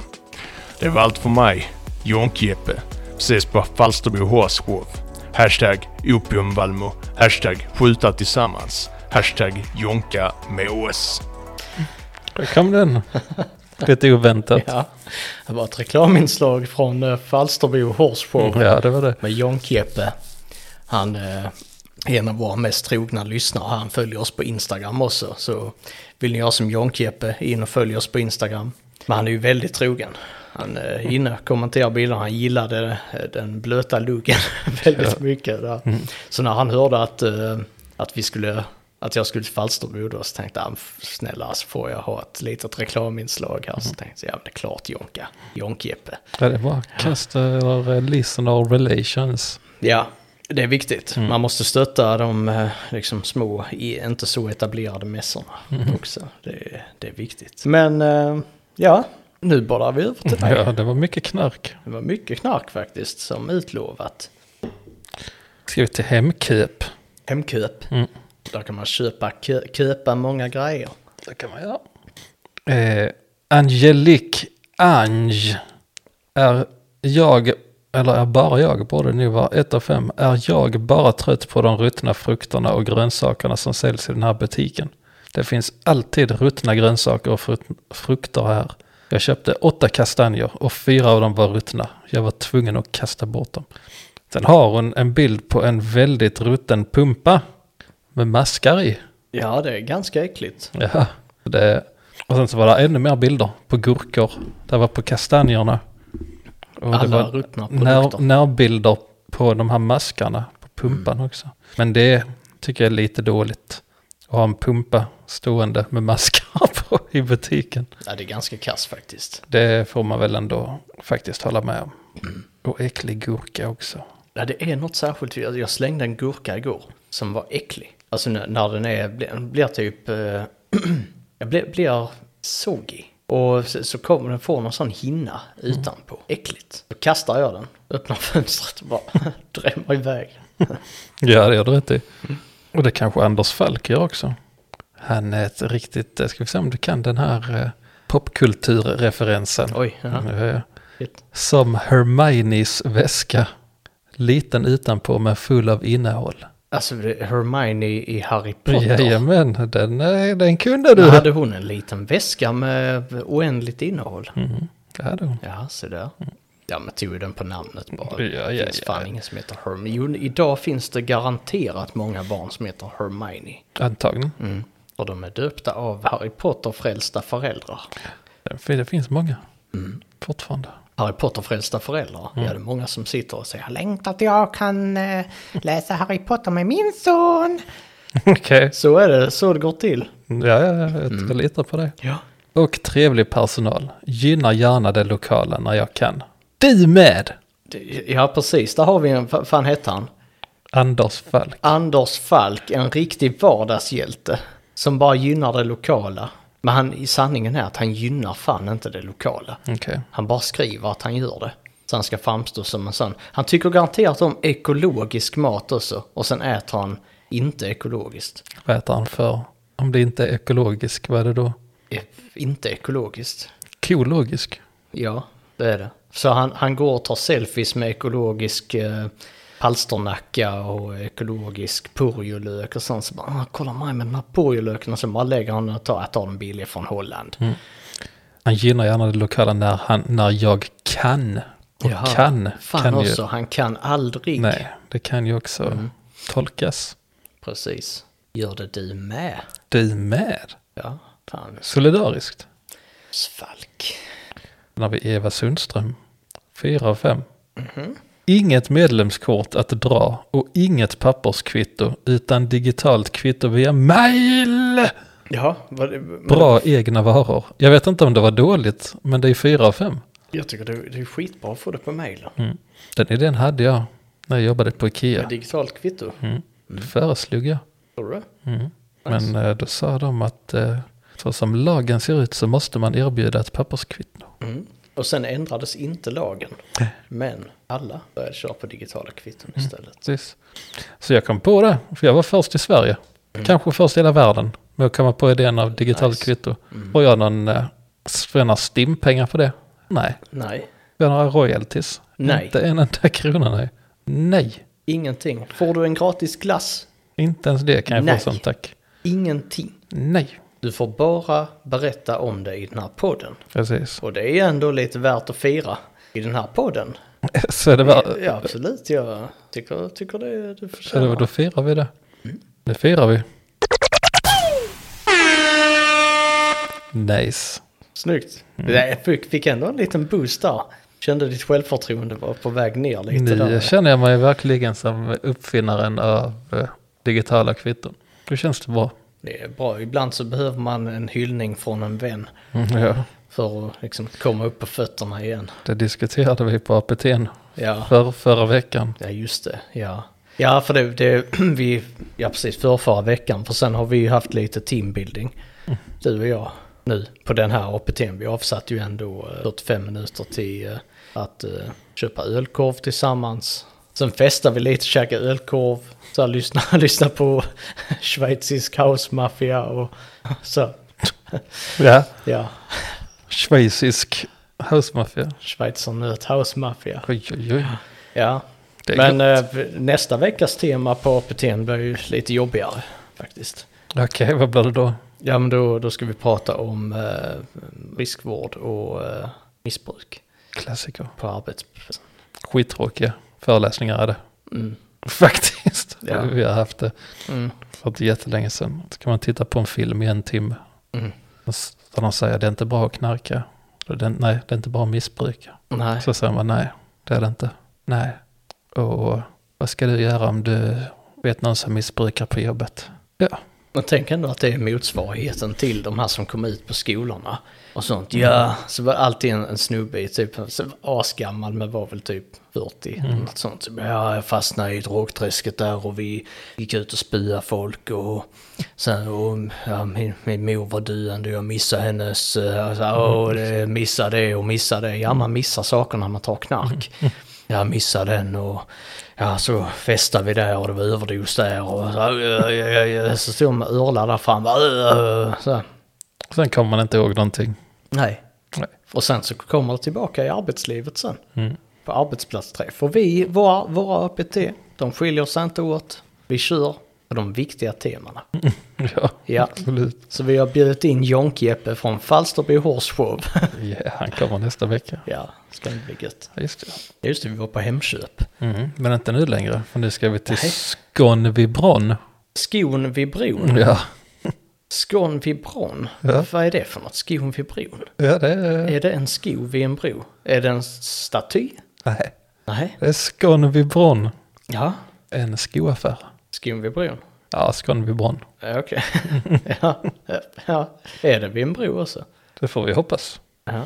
Speaker 4: Det var allt för mig, Jonk-Jeppe. Ses på Falsterbo Horshov. Hashtag opiumvalmo. Hashtag skjuta tillsammans. Hashtag jonka med oss.
Speaker 2: Där kom den. Lite oväntat.
Speaker 1: Ja, det var ett reklaminslag från eh, Falsterbo Horse Show
Speaker 2: Ja, det var det.
Speaker 1: med John Kiepe. Han eh, är en av våra mest trogna lyssnare. Han följer oss på Instagram också. Så vill ni göra som John Kiepe, in och följ oss på Instagram. Men han är ju väldigt trogen. Han eh, är inne och kommenterar bilderna. Han gillade eh, den blöta luggen väldigt mycket. Där. Så när han hörde att, eh, att vi skulle att jag skulle till Falsterbo då, så tänkte han snälla alltså får jag ha ett litet reklaminslag här. Så tänkte jag, ja men det är klart Jonka, Jonk-Jeppe.
Speaker 2: Ja, det var kasta eller eh, listener relations.
Speaker 1: Ja, det är viktigt.
Speaker 2: Mm.
Speaker 1: Man måste stötta de eh, liksom, små, i- inte så etablerade mässorna
Speaker 2: Mm.
Speaker 1: också. Det, är- det är viktigt. Men eh, ja, nu bollar vi över till dig.
Speaker 2: Ja, det var mycket knark.
Speaker 1: Det var mycket knark faktiskt som utlovat.
Speaker 2: Ska vi till Hemköp?
Speaker 1: Hemköp.
Speaker 2: Mm.
Speaker 1: Där kan man köpa, kö, köpa många grejer.
Speaker 2: Det kan man göra. Eh, Angelique Ange. Är jag, eller är bara jag, borde det nu vara, ett av fem. Är jag bara trött på de ruttna frukterna och grönsakerna som säljs i den här butiken? Det finns alltid ruttna grönsaker och frut- frukter här. Jag köpte åtta kastanjer och fyra av dem var ruttna. Jag var tvungen att kasta bort dem. Sen har hon en bild på en väldigt rutten pumpa med maskar i.
Speaker 1: Ja, det är ganska äckligt.
Speaker 2: Ja, det, och sen så var det ännu mer bilder på gurkor. Det var på kastanjerna. Och det
Speaker 1: Alla
Speaker 2: var
Speaker 1: ruttna
Speaker 2: när,
Speaker 1: produkter.
Speaker 2: närbilder på de här maskarna på pumpan
Speaker 1: Mm.
Speaker 2: också. Men det tycker jag är lite dåligt. Att ha en pumpa stående med maskar på i butiken.
Speaker 1: Ja, det är ganska kass faktiskt.
Speaker 2: Det får man väl ändå faktiskt hålla med om.
Speaker 1: Mm.
Speaker 2: Och äcklig gurka också.
Speaker 1: Ja, det är något särskilt. Jag jag slängde en gurka igår som var äcklig. Alltså när, när den är, blir, blir typ... eh, jag blir, blir soggy. Och så, så kommer den få någon sån hinna utanpå. Äckligt. Då kastar jag den, öppnar fönstret och bara drämmer iväg.
Speaker 2: Ja, det gör du rätt i. Och det kanske Anders Falk gör också. Han är ett riktigt, eh, ska vi se om du kan den här eh, popkulturreferensen.
Speaker 1: Oj, ja.
Speaker 2: Eh,
Speaker 1: Shit.
Speaker 2: Som Hermiones väska. Liten utanpå men full av innehåll.
Speaker 1: Alltså det är Hermione i Harry Potter.
Speaker 2: Jajamän, den, eh, den kunde du.
Speaker 1: Då hade hon en liten väska med oändligt innehåll.
Speaker 2: Mm, det hade hon.
Speaker 1: Ja, se där. Ja, men tog ju den på namnet bara.
Speaker 2: Mm. Ja,
Speaker 1: det
Speaker 2: ja,
Speaker 1: finns
Speaker 2: ja.
Speaker 1: fan ingen som heter Hermione. Jo, idag finns det garanterat många barn som heter Hermione.
Speaker 2: Antagligen.
Speaker 1: Mm. Och de är döpta av Harry Potter-frälsta föräldrar.
Speaker 2: Det finns många. Fortfarande.
Speaker 1: Harry Potter-frälsta föräldrar.
Speaker 2: Mm.
Speaker 1: Ja, det är många som sitter och säger jag längtar att jag kan eh, läsa Harry Potter med min son.
Speaker 2: Okej.
Speaker 1: Så är det, så det går till.
Speaker 2: Ja, ja, ja, jag mm. litar på dig.
Speaker 1: Ja.
Speaker 2: Och trevlig personal. Gynnar gärna det lokala när jag kan. Du med!
Speaker 1: Det- Ja, precis. Där har vi en, vad fan hette han?
Speaker 2: Anders Falk.
Speaker 1: Anders Falk, en riktig vardagshjälte. Som bara gynnar det lokala. Men han, i sanningen är att han gynnar fan inte det lokala.
Speaker 2: Okej.
Speaker 1: Han bara skriver att han gör det. Så han ska framstå som en sån. Han tycker garanterat om ekologisk mat också. Och sen äter han inte ekologiskt.
Speaker 2: Vad äter han för? Om det inte är ekologisk, vad är det då?
Speaker 1: Eh, Inte ekologiskt.
Speaker 2: Kologisk?
Speaker 1: Ja, det är det. Så han, han går och tar selfies med ekologisk eh, palsternacka och ekologisk purjolök och sånt. Så bara, ah, kolla mig med den här purjolöken. Och så bara lägger han och tar, jag tar den billig från Holland.
Speaker 2: Mm, Han gynnar gärna det lokala när, han, när jag kan. Och
Speaker 1: Jaha.
Speaker 2: kan
Speaker 1: Fan
Speaker 2: kan
Speaker 1: också, Mm.
Speaker 2: ju...
Speaker 1: han kan aldrig.
Speaker 2: Nej, det kan ju också tolkas.
Speaker 1: Precis. Gör det du med.
Speaker 2: Du med.
Speaker 1: Ja, fan.
Speaker 2: Solidariskt.
Speaker 1: Svalk.
Speaker 2: När vi Eva Sundström. Fyra av fem.
Speaker 1: Mhm.
Speaker 2: Inget medlemskort att dra och inget papperskvitto utan digitalt kvitto via mail.
Speaker 1: Ja, vad, men
Speaker 2: Bra egna varor. Jag vet inte om det var dåligt, men det är fyra av fem.
Speaker 1: jag tycker det, det är skitbra att få det på mejlen.
Speaker 2: Mm. Den idén hade jag när jag jobbade på Ikea.
Speaker 1: Med digitalt kvitto.
Speaker 2: Mm. Det föreslog jag.
Speaker 1: Tror du?
Speaker 2: Mm.
Speaker 1: Nice.
Speaker 2: Men eh, då sa de att eh, så som lagen ser ut så måste man erbjuda ett papperskvitto.
Speaker 1: Mm. Och sen ändrades inte lagen. Men alla började köra på digitala kvitton
Speaker 2: Mm.
Speaker 1: istället.
Speaker 2: Precis. Så jag kom på det, för jag var först i Sverige. Kanske först i hela världen med att komma på idén av digitalt
Speaker 1: Mm. Nice. Mm.
Speaker 2: kvitto. Har jag någon, eh, s- får jag några stimpengar på det? Nej.
Speaker 1: Nej,
Speaker 2: Får jag några royalties?
Speaker 1: Nej.
Speaker 2: Inte en enda krona, nej. Nej,
Speaker 1: ingenting. Får du en gratis glass?
Speaker 2: inte ens det kan jag
Speaker 1: Nej.
Speaker 2: få som tack.
Speaker 1: Ingenting.
Speaker 2: Nej,
Speaker 1: Du får bara berätta om det i den här podden.
Speaker 2: precis.
Speaker 1: Och det är ändå lite värt att fira i den här podden.
Speaker 2: Så det var,
Speaker 1: Ja, absolut. Jag tycker, tycker det du
Speaker 2: så det var,
Speaker 1: förtjänar.
Speaker 2: då firar vi det. Det firar vi. Nice.
Speaker 1: Snyggt.
Speaker 2: Mm.
Speaker 1: Jag fick, fick ändå en liten boost där. Kände ditt självförtroende var på väg ner lite
Speaker 2: Nu
Speaker 1: där.
Speaker 2: känner jag mig verkligen som uppfinnaren av eh, digitala kvitton. Då känns det bra.
Speaker 1: Det är bra. Ibland så behöver man en hyllning från en vän.
Speaker 2: Mm, Ja.
Speaker 1: För att liksom komma upp på fötterna igen.
Speaker 2: Det diskuterade vi på APT'n
Speaker 1: Ja,
Speaker 2: för, förra veckan.
Speaker 1: ja just det. Ja, ja för det, det vi, ja precis för förra veckan. För sen har vi ju haft lite teambuilding, du och jag. Nu på den här APT'n. Vi avsatte ju ändå eh, 45 minuter till eh, att eh, köpa ölkorv tillsammans. Sen festade vi lite, käkade ölkorv, så här, lyssna, lyssna på schweizisk housemaffia och så.
Speaker 2: Ja.
Speaker 1: Ja,
Speaker 2: Schweizisk housemafia.
Speaker 1: schweizernöt housemaffia.
Speaker 2: Oj, oj, oj.
Speaker 1: Ja,
Speaker 2: Det är
Speaker 1: Men eh, nästa veckas tema på APT'n blir ju lite jobbigare faktiskt.
Speaker 2: Okej, vad blir det då?
Speaker 1: Ja, men då, då ska vi prata om eh, riskvård och eh, missbruk
Speaker 2: Klassiker.
Speaker 1: på arbetsplatsen.
Speaker 2: Skittråkiga föreläsningar är det.
Speaker 1: Mm.
Speaker 2: Faktiskt.
Speaker 1: Ja.
Speaker 2: Vi har haft det
Speaker 1: Mm.
Speaker 2: för inte jättelänge sedan. Så kan man titta på en film i en timme.
Speaker 1: Mm.
Speaker 2: Och s- Där de säger det är inte bra att knarka. Och Det är, nej, det är inte bra att missbruka.
Speaker 1: Nej,
Speaker 2: Så säger man nej, det är det inte. Nej. Och vad ska du göra om du vet någon som missbrukar på jobbet? Ja,
Speaker 1: Men tänk ändå att det är motsvarigheten till de här som kom ut på skolorna och sånt. Ja, så var det alltid en, en snubbe i typ, så var asgammal men var väl typ 40 eller något sånt. Så, bara, ja, jag fastnade i drogträsket där och vi gick ut och spöade folk och sen, och, ja, min, min mor var döende och jag missade hennes, eh, och så, här, åh, det, missa det och missa det. Ja, man missar saker när man tar knark. Jag missade den och ja, så festade vi där och det var överdos där och så, "Äh, ö, ö, ö, ö, äh, så stod de med örlar där fram. bara, ö, ö, ö, Så.
Speaker 2: Sen kommer man inte ihåg någonting.
Speaker 1: Nej.
Speaker 2: Nej. Mm.
Speaker 1: Och sen så kommer det tillbaka i arbetslivet sen. På arbetsplatsträff. Och vi, våra, våra APT, de skiljer sig inte åt. Vi kör på de viktiga temana.
Speaker 2: Ja,
Speaker 1: Ja.
Speaker 2: Mm, absolut.
Speaker 1: Så vi har bjudit in Jonk-Jeppe från Falsterbo Horse Show.
Speaker 2: Ja, han kommer nästa vecka.
Speaker 1: ja, ska det bli gött.
Speaker 2: Ja, Just det.
Speaker 1: Just det, vi var på Hemköp.
Speaker 2: Mm. Men inte nu längre, för nu ska vi till
Speaker 1: Nej.
Speaker 2: Skåne vid Bronn.
Speaker 1: Skon vid bron.
Speaker 2: Ja.
Speaker 1: Skån vid bron?
Speaker 2: Mm. Ja.
Speaker 1: Vad är det för något? Skon vid bron?
Speaker 2: ja, det är...
Speaker 1: Är det en sko vid en bro? Är det en staty?
Speaker 2: Nej,
Speaker 1: Nej.
Speaker 2: det är Skåne vid Bronn.
Speaker 1: Ja,
Speaker 2: En skoaffär.
Speaker 1: skon vid bron.
Speaker 2: Ja, Skåne vid Bronn.
Speaker 1: Ja, Okej. ja, ja. Är det vid en bro också?
Speaker 2: Det får vi hoppas.
Speaker 1: Ja.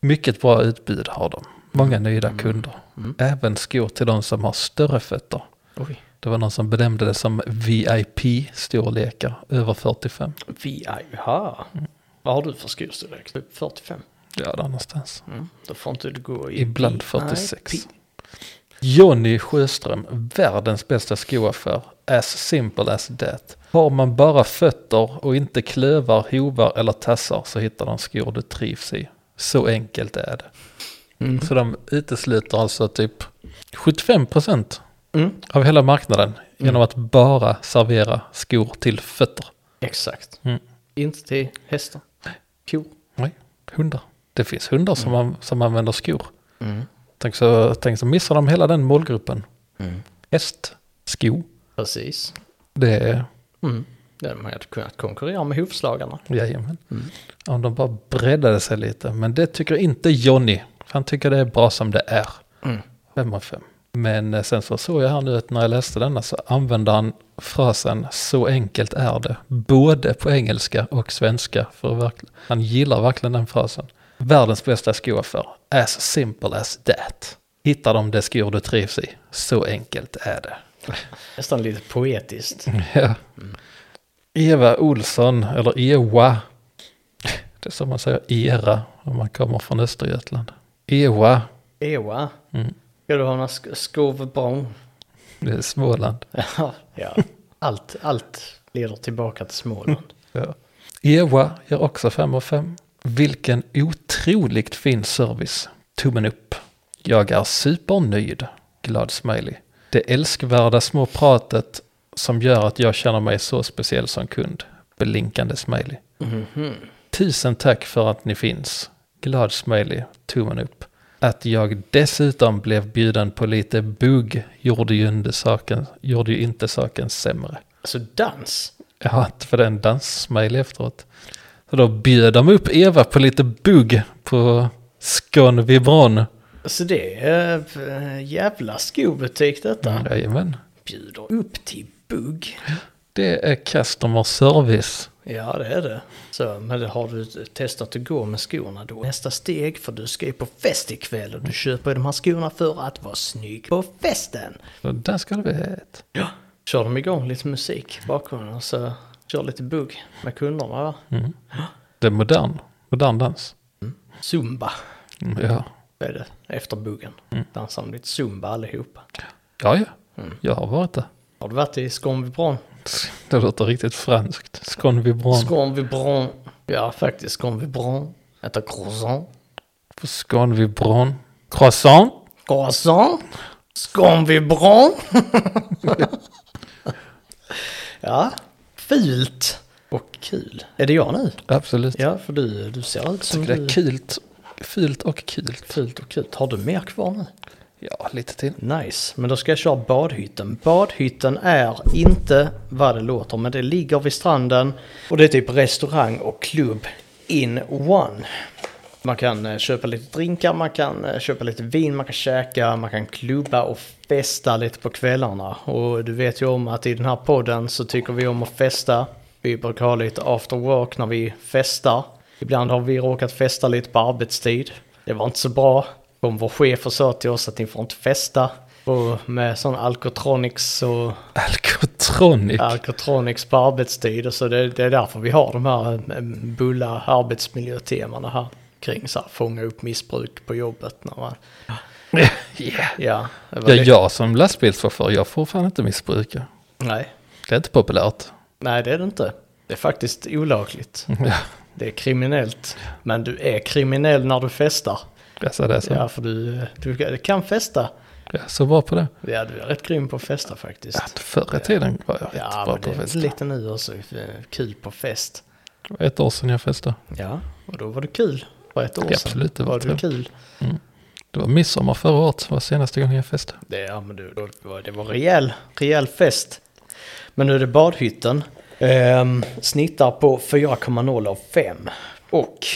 Speaker 2: Mycket bra utbud har de. Många nöjda kunder. Även skor till de som har större fötter.
Speaker 1: Oj.
Speaker 2: Det var någon som benämnde det som VIP-storlekar över 45.
Speaker 1: Vi är ju här. Vad har du för skostorlek? Typ 45?
Speaker 2: Ja, där någonstans.
Speaker 1: Mm. Då får inte du gå i...
Speaker 2: Ibland
Speaker 1: VIP.
Speaker 2: 46. Jonny Sjöström, världens bästa skoaffär. As simple as that. Har man bara fötter och inte klövar, hovar eller tassar så hittar de skor du trivs i. Så enkelt är det.
Speaker 1: Mm.
Speaker 2: Så de utesluter alltså typ 75 procent
Speaker 1: Mm.
Speaker 2: av hela marknaden genom att bara servera skor till fötter.
Speaker 1: Exakt.
Speaker 2: Mm.
Speaker 1: Inte till hästar. Kor.
Speaker 2: Nej, hundar. Det finns hundar som, an- som använder skor. Mm. Tänk så, tänk så missar de hela den målgruppen.
Speaker 1: Mm.
Speaker 2: Häst, sko,
Speaker 1: Precis.
Speaker 2: det är,
Speaker 1: Mm. Ja, man hade kunnat konkurrera med hovslagarna.
Speaker 2: jajamän.
Speaker 1: Mm.
Speaker 2: Om de bara breddade sig lite. Men det tycker inte Johnny. Han tycker det är bra som det är.
Speaker 1: Mm.
Speaker 2: Fem av fem. Men eh, sen så såg jag här nu att när jag läste denna så använde han frasen så enkelt är det. Både på engelska och svenska. För att verkl- han gillar verkligen den frasen. Världens bästa skoaffär. As simple as that. Hittar de det skor du trivs i. Så enkelt är det.
Speaker 1: Nästan lite poetiskt.
Speaker 2: Ja. Eva Olsson, eller Ewa. Det är som man säger era om man kommer från Östergötland. E Ewa,
Speaker 1: Ewa.
Speaker 2: Mm.
Speaker 1: Ska du ha några sk- skovbron?
Speaker 2: det är Småland.
Speaker 1: Ja, ja. Allt, allt leder tillbaka till Småland.
Speaker 2: Ja. Ewa gör också 5 av 5. Vilken otroligt fin service. Tummen upp. Jag är supernöjd. Glad smiley. Det älskvärda små pratet som gör att jag känner mig så speciell som kund. Blinkande smiley. Tusen tack för att ni finns. Glad smiley. Tummen upp. Att jag dessutom blev bjuden på lite bugg gjorde ju inte saken, gjorde ju inte saken sämre.
Speaker 1: Alltså dans.
Speaker 2: Jag har inte för den danssmiley efteråt. Så då bjöd de upp Eva på lite bugg på Skån Vibron.
Speaker 1: Alltså det är äh, jävla skobutik detta.
Speaker 2: Jajamän.
Speaker 1: Bjuder upp till bugg.
Speaker 2: Det är customer service.
Speaker 1: Ja, det är det. Så, men det har du testat att gå med skorna då? Nästa steg, för du ska ju på fest ikväll och du köper ju de här skorna för att vara snygg på festen.
Speaker 2: Och där ska du veta.
Speaker 1: Ja. Kör de igång lite musik i bakgrunden och så kör lite bugg med kunderna va?
Speaker 2: Det är modern. Modern dans.
Speaker 1: Zumba.
Speaker 2: Mm, Ja.
Speaker 1: Vad är det? Efter buggen. Dansar de lite zumba allihopa.
Speaker 2: Ja, ja. Jag har varit där.
Speaker 1: Har du varit i Skånvibron?
Speaker 2: Det låter riktigt franskt. Skån Vibron.
Speaker 1: Skånvibron. Ja, faktiskt. Skånvibron. Äta croissant.
Speaker 2: På Skån Vibron. Croissant.
Speaker 1: Croissant. Skånvibron. ja, fult. Och kul. Är det jag nu?
Speaker 2: Absolut. Mm.
Speaker 1: Ja, för du, du ser ut som
Speaker 2: Tycker det
Speaker 1: du.
Speaker 2: är kult. Fult och kult.
Speaker 1: Fult och kul. Har du mer kvar nu?
Speaker 2: Ja, lite till.
Speaker 1: Nice, men då ska jag köra badhytten. Badhytten är inte vad det låter, men det ligger vid stranden och det är typ restaurang och klubb in one. Man kan eh, köpa lite drinkar, man kan eh, köpa lite vin, man kan käka, man kan klubba och festa lite på kvällarna. Och du vet ju om att i den här podden så tycker vi om att festa. Vi brukar ha lite after work när vi festar. Ibland har vi råkat festa lite på arbetstid. Det var inte så bra. Kom vår chef och sa till oss att ni får inte festa. Och med sån alkotronics och
Speaker 2: Alcotronic.
Speaker 1: Alcotronics på arbetstid. Och så det, det är därför vi har de här eh, bulla arbetsmiljötemana här. Kring så här, fånga upp missbruk på jobbet. När man,
Speaker 2: Yeah.
Speaker 1: ja, det var
Speaker 2: Ja,
Speaker 1: det.
Speaker 2: jag som lastbilschaufför, jag får fan inte missbruka.
Speaker 1: Nej,
Speaker 2: Det är inte populärt.
Speaker 1: nej det är det inte. Det är faktiskt olagligt.
Speaker 2: Ja,
Speaker 1: Det är kriminellt. Men du är kriminell när du festar.
Speaker 2: alltså det är så.
Speaker 1: Ja, för du, du kan festa.
Speaker 2: Jag är så bra på det.
Speaker 1: Ja, du är rätt grym på att festa faktiskt.
Speaker 2: Förr i tiden var jag
Speaker 1: Ja,
Speaker 2: jättebra
Speaker 1: men
Speaker 2: på
Speaker 1: det
Speaker 2: att
Speaker 1: är
Speaker 2: festa.
Speaker 1: väl lite nu också. eh, Kul på fest.
Speaker 2: Det var ett år sedan jag festade.
Speaker 1: Ja, och då var det kul. För ett år
Speaker 2: Ja,
Speaker 1: sedan
Speaker 2: absolut, det var
Speaker 1: var det
Speaker 2: trevligt.
Speaker 1: kul.
Speaker 2: Det var midsommar förra året, var senaste gången jag festade.
Speaker 1: Det, ja, men du, då, var- det var rejäl, rejäl fest. Men nu är det badhytten. Ehm, snittar på 4,0 av 5. Och,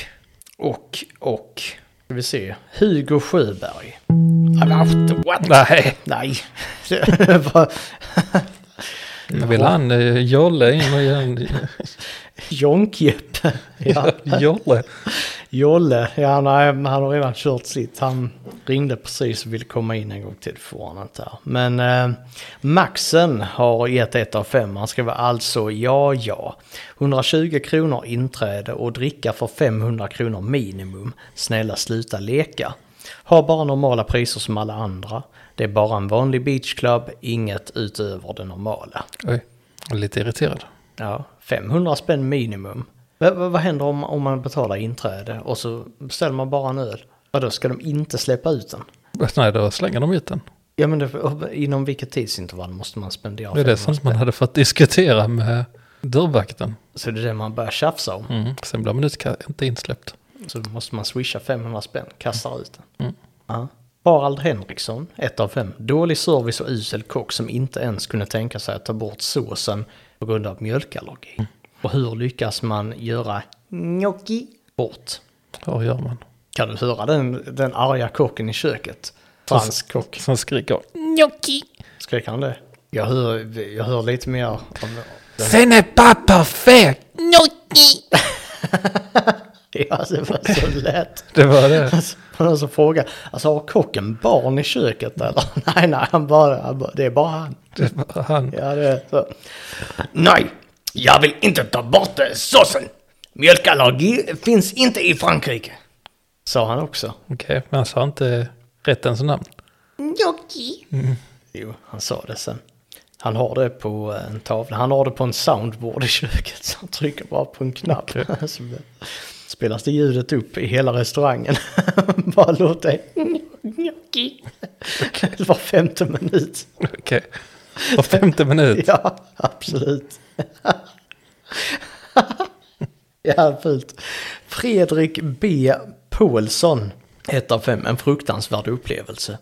Speaker 1: och, och. Ska vi se. Hugo Sjöberg. What?
Speaker 2: Nej!
Speaker 1: Nej. Det var-
Speaker 2: Nu vill han eh, jolle in och göra en...
Speaker 1: Jonkjeppe. Ja.
Speaker 2: Jolle?
Speaker 1: Jolle, ja nej, men han har redan kört sitt. Han ringde precis och ville komma in en gång till. Det får han inte här. Men eh, Maxen har gett ett av fem. Han skriver alltså ja, ja. 120 kronor inträde och dricka för 500 kronor minimum. Snälla sluta leka. Har bara normala priser som alla andra. Det är bara en vanlig beachclub, inget utöver det normala.
Speaker 2: Oj, jag är lite irriterad.
Speaker 1: Ja, 500 spänn minimum. Va- va- vad händer om, om man betalar inträde och så beställer man bara en öl? Ja, då ska de inte släppa ut den?
Speaker 2: Nej, då slänger de ut den.
Speaker 1: Ja, men det, och inom vilket tidsintervall måste man spendera
Speaker 2: Det är
Speaker 1: 500
Speaker 2: det som man hade fått diskutera med dörrvakten.
Speaker 1: Så det är det man börjar tjafsa om.
Speaker 2: Mm. Sen blir man utka- inte insläppt.
Speaker 1: Så då måste man swisha 500 spänn, kastar ut den.
Speaker 2: Mm.
Speaker 1: Ja. Harald Henriksson, 1 av 5. Dålig service och usel kock som inte ens kunde tänka sig att ta bort såsen på grund av mjölkallergi.
Speaker 2: Mm.
Speaker 1: Och hur lyckas man göra gnocchi bort?
Speaker 2: Hur gör man?
Speaker 1: Kan du höra den, den arga kocken i köket? Fransk kock.
Speaker 2: Som skriker
Speaker 5: Gnocchi.
Speaker 1: Skrek han det? Jag hör, jag hör lite mer av...
Speaker 2: Den är pappa perfekt!
Speaker 5: Gnocchi.
Speaker 1: Ja, alltså, det var så lätt.
Speaker 2: Det var det.
Speaker 1: Alltså, det var någon som frågade, alltså har kocken barn i köket eller? Nej, nej, han bara, han bara, det är bara han.
Speaker 2: det var han.
Speaker 1: Ja, det är så.
Speaker 6: Nej, jag vill inte ta bort eh, såsen. Mjölkallergi finns inte i Frankrike.
Speaker 1: Sa han också.
Speaker 2: Okej, men han sa inte rättens namn.
Speaker 5: Gnocchi.
Speaker 1: Jo, han sa det sen. Han har det på eh, en tavla, han har det på en soundboard i köket. Så han trycker bara på en knapp. Så det- spelas det ljudet upp i hela restaurangen. bara låt det
Speaker 5: Gnocchi.
Speaker 1: var femte minut.
Speaker 2: Okej. Var femte minut.
Speaker 1: Ja, absolut. ja, fult. Fredrik B. Paulsson, 1 av 5, en fruktansvärd upplevelse.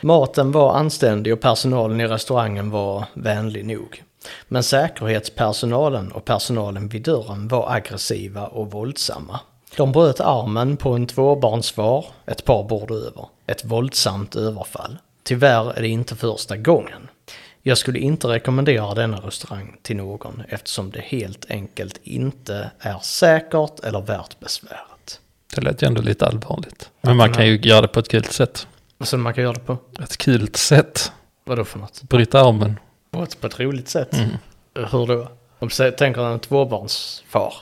Speaker 1: Maten var anständig och personalen i restaurangen var vänlig nog. Men säkerhetspersonalen och personalen vid dörren var aggressiva och våldsamma. De bröt armen på en tvåbarnsfar ett par bord över. Ett våldsamt överfall. Tyvärr är det inte första gången. Jag skulle inte rekommendera denna restaurang till någon eftersom det helt enkelt inte är säkert eller värt besväret.
Speaker 2: Det lät ju ändå lite allvarligt. Men man kan ju göra det på ett kul sätt.
Speaker 1: Så man kan göra det på,
Speaker 2: Ett kul sätt.
Speaker 1: vadå för något? Mm.
Speaker 2: Bryta armen.
Speaker 1: På ett, på ett roligt sätt. Hur då? De sä- tänker en tvåbarnsfar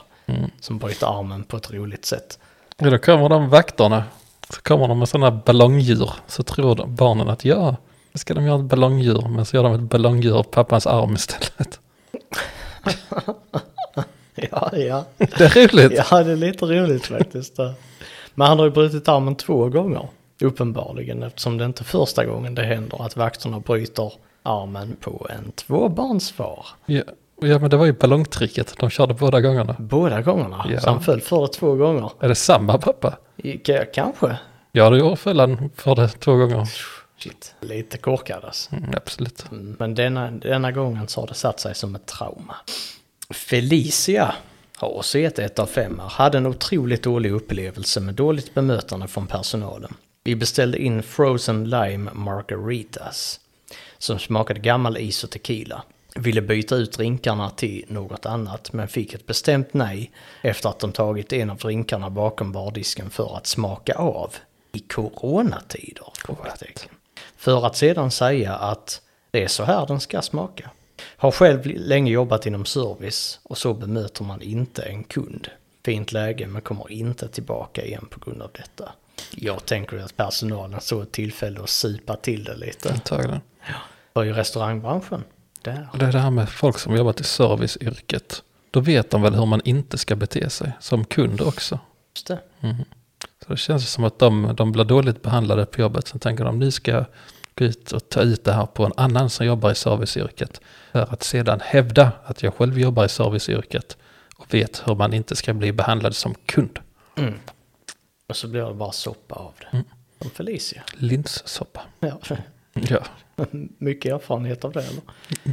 Speaker 1: som bryter armen på ett roligt sätt.
Speaker 2: Ja, då kommer de vakterna. Så kommer de med sådana ballongdjur. Så tror de, barnen att ja, nu ska de göra ett ballongdjur. Men så gör de ett ballongdjur av pappans arm istället.
Speaker 1: Ja, ja.
Speaker 2: Det är roligt.
Speaker 1: Ja, det är lite roligt faktiskt. där. Men han har ju brutit armen två gånger, uppenbarligen, eftersom det inte är första gången det händer att vakterna bryter armen på en tvåbarnsfar.
Speaker 2: Ja. ja, men det var ju ballongtricket. De körde båda gångerna.
Speaker 1: Båda gångerna,
Speaker 2: Ja.
Speaker 1: så han föll för det två gånger.
Speaker 2: Är det samma pappa?
Speaker 1: I- k- Kanske.
Speaker 2: Ja, det gjorde han för det två gånger.
Speaker 1: Shit, lite korkad alltså.
Speaker 2: Mm, absolut.
Speaker 1: Men denna, denna gången så har det satt sig som ett trauma. Felicia har också gett ett av fem här. Hade en otroligt dålig upplevelse med dåligt bemötande från personalen. Vi beställde in frozen lime margaritas som smakade gammal is och tequila. ville byta ut drinkarna till något annat men fick ett bestämt nej efter att de tagit en av drinkarna bakom bardisken för att smaka av i coronatider. frågetecken. För att sedan säga att det är så här den ska smaka. Har själv länge jobbat inom service och så bemöter man inte en kund. Fint läge men kommer inte tillbaka igen på grund av detta. Jag tänker att personalen såg ett tillfälle att supa till det lite.
Speaker 2: Antagligen.
Speaker 1: Var ju restaurangbranschen. Där.
Speaker 2: Och det är det här med folk som jobbat i serviceyrket. Då vet de väl hur man inte ska bete sig som kund också.
Speaker 1: Just det.
Speaker 2: Så det känns som att de, de blir dåligt behandlade på jobbet. Sen tänker de, ni ska gå ut och ta ut det här på en annan som jobbar i serviceyrket. För att sedan hävda att jag själv jobbar i serviceyrket. Och vet hur man inte ska bli behandlad som kund.
Speaker 1: Och så blir det bara soppa av det. Som Felicia.
Speaker 2: Linssoppa.
Speaker 1: Ja.
Speaker 2: Ja,
Speaker 1: Mycket erfarenhet av det eller?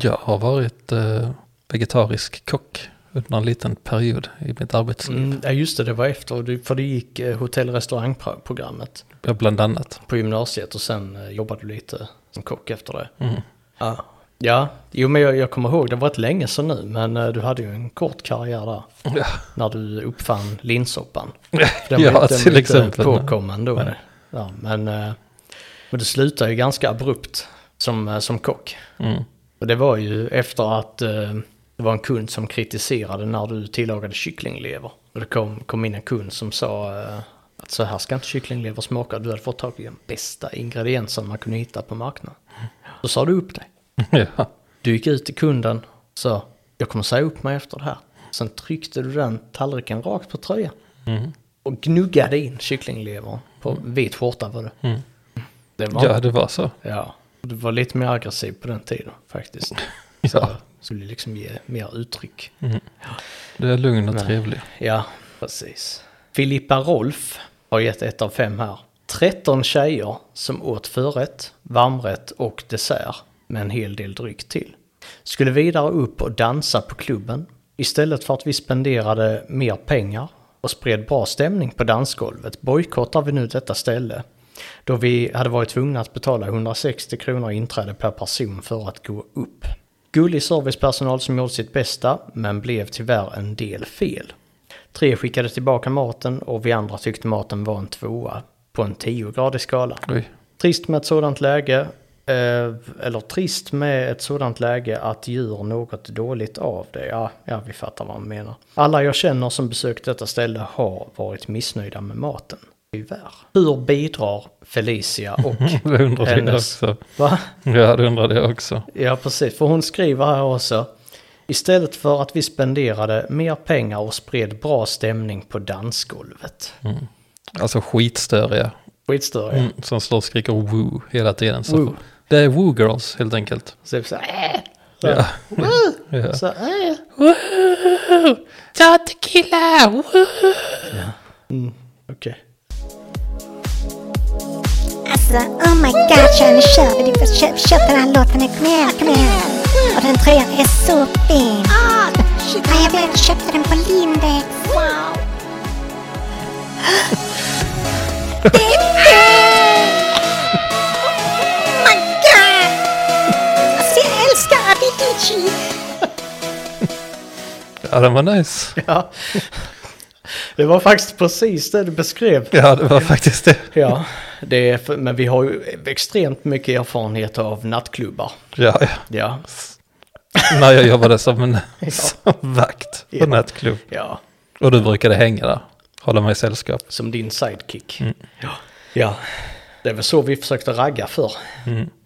Speaker 2: jag har varit eh, vegetarisk kock under en liten period i mitt arbetsliv.
Speaker 1: Mm, ja just det, det var efter. du- För du gick eh, hotell och restaurangprogrammet
Speaker 2: Ja, bland annat.
Speaker 1: på gymnasiet och sen eh, jobbade du lite som kock efter det.
Speaker 2: Mm.
Speaker 1: Ja. Ja, jo men jag, jag kommer ihåg, det var ett länge sedan nu men eh, du hade ju en kort karriär där.
Speaker 2: Ja.
Speaker 1: När du uppfann linssoppan. Den var
Speaker 2: Ja,
Speaker 1: inte- den
Speaker 2: till
Speaker 1: var inte
Speaker 2: exempel.
Speaker 1: påkommen då. Ja, men, eh, men det slutade ju ganska abrupt som, eh, som kock.
Speaker 2: Mm.
Speaker 1: Och det var ju efter att eh, det var en kund som kritiserade när du tillagade kycklinglever. Och det kom, kom in en kund som sa eh, att så här ska inte kycklinglever smaka. Du hade fått tag i den bästa ingrediensen man kunde hitta på marknaden.
Speaker 2: Mm.
Speaker 1: Då sa du upp dig.
Speaker 2: Ja.
Speaker 1: Du gick ut till kunden och sa jag kommer säga upp mig efter det här. Sen tryckte du den tallriken rakt på tröjan.
Speaker 2: Mm.
Speaker 1: Och gnuggade in kycklinglever på vit skjorta var det. Det var
Speaker 2: Mm. ja, det var så.
Speaker 1: Ja, och du var lite mer aggressiv på den tiden faktiskt. Så
Speaker 2: Ja.
Speaker 1: skulle liksom ge mer uttryck.
Speaker 2: Du är lugn och trevlig.
Speaker 1: Ja, precis. Filippa Rolf har gett ett av fem här. 13 tjejer som åt förrätt, varmrätt och dessert med en hel del dryck till. Skulle vidare upp och dansa på klubben. Istället för att vi spenderade mer pengar och spred bra stämning på dansgolvet bojkottar vi nu detta ställe. Då vi hade varit tvungna att betala 160 kronor i inträde per person för att gå upp. Gullig servicepersonal som gjorde sitt bästa men blev tyvärr en del fel. Tre skickade tillbaka maten och vi andra tyckte maten var en tvåa på en 10-gradig skala.
Speaker 2: Oj.
Speaker 1: Trist med ett sådant läge, eh, eller trist med ett sådant läge att djur något dåligt av det. Ja, ja, vi fattar vad man menar. Alla jag känner som besökt detta ställe har varit missnöjda med maten. Tyvärr. Hur bidrar Felicia och
Speaker 2: Det undrade jag
Speaker 1: hennes...
Speaker 2: också.
Speaker 1: Va?
Speaker 2: Ja, det undrade jag också.
Speaker 1: Ja, precis. För hon skriver här också. Istället för att vi spenderade mer pengar och spred bra stämning på dansgolvet.
Speaker 2: Alltså skitstöriga.
Speaker 1: Skitstöriga.
Speaker 2: Mm, som står och skriker woo hela tiden. Så
Speaker 1: Woo.
Speaker 2: Det är woo girls helt enkelt.
Speaker 1: Så så äh, så,
Speaker 2: Ja.
Speaker 1: ja. så äh.
Speaker 2: Ta tequila! Woo!
Speaker 1: Mm, Okej.
Speaker 7: Alltså oh my god Johnny kör vi din köp, köp den här låten nu, kom igen, kom igen. Och den tröjan är så fin. Nej jag vet, jag köpte den på Lindex. Wow. det är det! Oh my god! Alltså jag älskar Avicii.
Speaker 2: Ja, den var nice.
Speaker 1: Ja. Det var faktiskt precis det du beskrev.
Speaker 2: Ja, det var faktiskt det.
Speaker 1: Ja, det är för, men vi har ju extremt mycket erfarenhet av nattklubbar.
Speaker 2: Ja, ja.
Speaker 1: Ja,
Speaker 2: När jag jobbade som, en, som vakt på
Speaker 1: Ja.
Speaker 2: nattklubb.
Speaker 1: ja.
Speaker 2: Och du brukade hänga där. Hålla mig i sällskap.
Speaker 1: som din sidekick. Ja. ja, det är väl så vi försökte ragga för.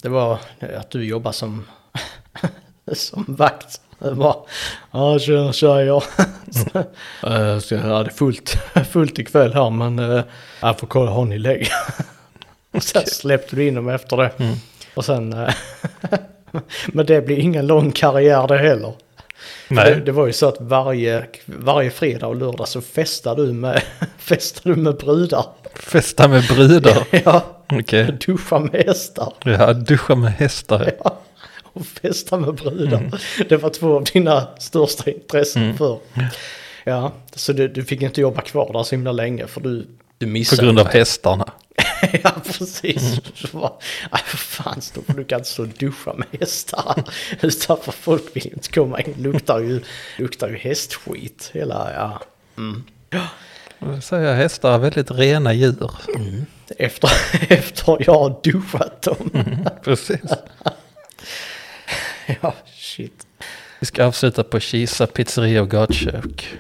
Speaker 1: Det var att du jobbar som, som vakt. Det var, ja tjena tjejer. Eh, så Jag hade fullt, fullt ikväll här men eh, jag får kolla har ni lägg. Sen släppte du in dem efter det. Och sen, eh, men det blir ingen lång karriär det heller.
Speaker 2: Nej.
Speaker 1: Det, det var ju så att varje, varje fredag och lördag så festade du med, festade du med brudar.
Speaker 2: Festa med brudar.
Speaker 1: Ja,
Speaker 2: Okej.
Speaker 1: duscha med hästar.
Speaker 2: Ja, duscha med hästar.
Speaker 1: Ja, och festa med brudar. Det var två av dina största intressen förr. Ja, så du, du fick inte jobba kvar där så himla länge för du, du
Speaker 2: På
Speaker 1: missade.
Speaker 2: grund av hästarna.
Speaker 1: ja, precis. Så bara, "Aj, för fan, stå- du kan inte stå och duscha med hästar utanför. Folk vill inte komma in. Luktar ju, luktar ju hästskit. Hela, ja.
Speaker 2: Jag vill säga hästar är väldigt rena djur.
Speaker 1: Efter, efter jag har duschat dem.
Speaker 2: Precis.
Speaker 1: ja, shit.
Speaker 2: Vi ska avsluta på Kisa pizzeria och gatukök.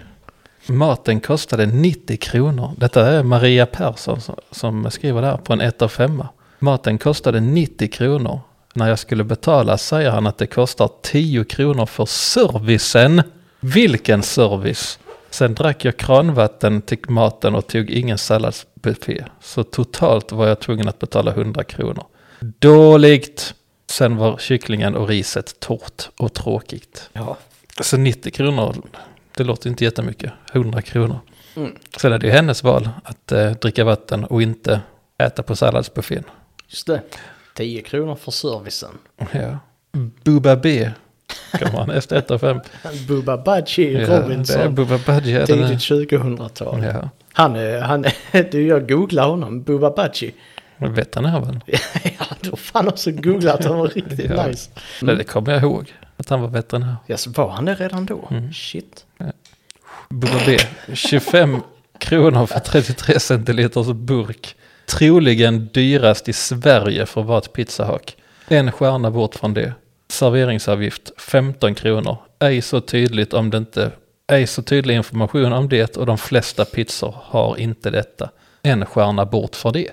Speaker 2: Maten kostade 90 kronor. Detta är Maria Persson som, som skriver det här på en 1 av 5. Maten kostade 90 kronor. När jag skulle betala säger han att det kostar 10 kronor för servicen. Vilken service? Sen drack jag kranvatten till maten och tog ingen salladsbuffé. Så totalt var jag tvungen att betala 100 kronor. Dåligt! Sen var kycklingen och riset torrt och tråkigt.
Speaker 1: Ja,
Speaker 2: Alltså 90 kronor, det låter inte jättemycket. 100 kronor. Sen är det ju hennes val att eh, dricka vatten och inte äta på salladsbuffén.
Speaker 1: just det. 10 kronor för servicen.
Speaker 2: Ja. Bubba B kommer han efter 1 av 5.
Speaker 1: Bubba Budgie
Speaker 2: det är
Speaker 1: Robinson.
Speaker 2: Bubba Budgie. den
Speaker 1: Tidigt
Speaker 2: är-
Speaker 1: 2000-tal.
Speaker 2: Ja,
Speaker 1: Han, är- han, är- du jag googlar honom, Bubba Budgie.
Speaker 2: men veterinär väl?
Speaker 1: ja, du har fan också googlat honom riktigt
Speaker 2: Ja.
Speaker 1: nice.
Speaker 2: Nej, det kommer jag ihåg. Att han var veterinär.
Speaker 1: Ja, så var han det redan då?
Speaker 2: Mm.
Speaker 1: Shit.
Speaker 2: Bubba B. 25 kronor för 33 centiliters burk. Troligen dyrast i Sverige för vart pizzahak. En stjärna bort från det. Serveringsavgift 15 kronor. Ej så tydligt om det inte... Ej så tydlig information om det och de flesta pizzor har inte detta. En stjärna bort för det.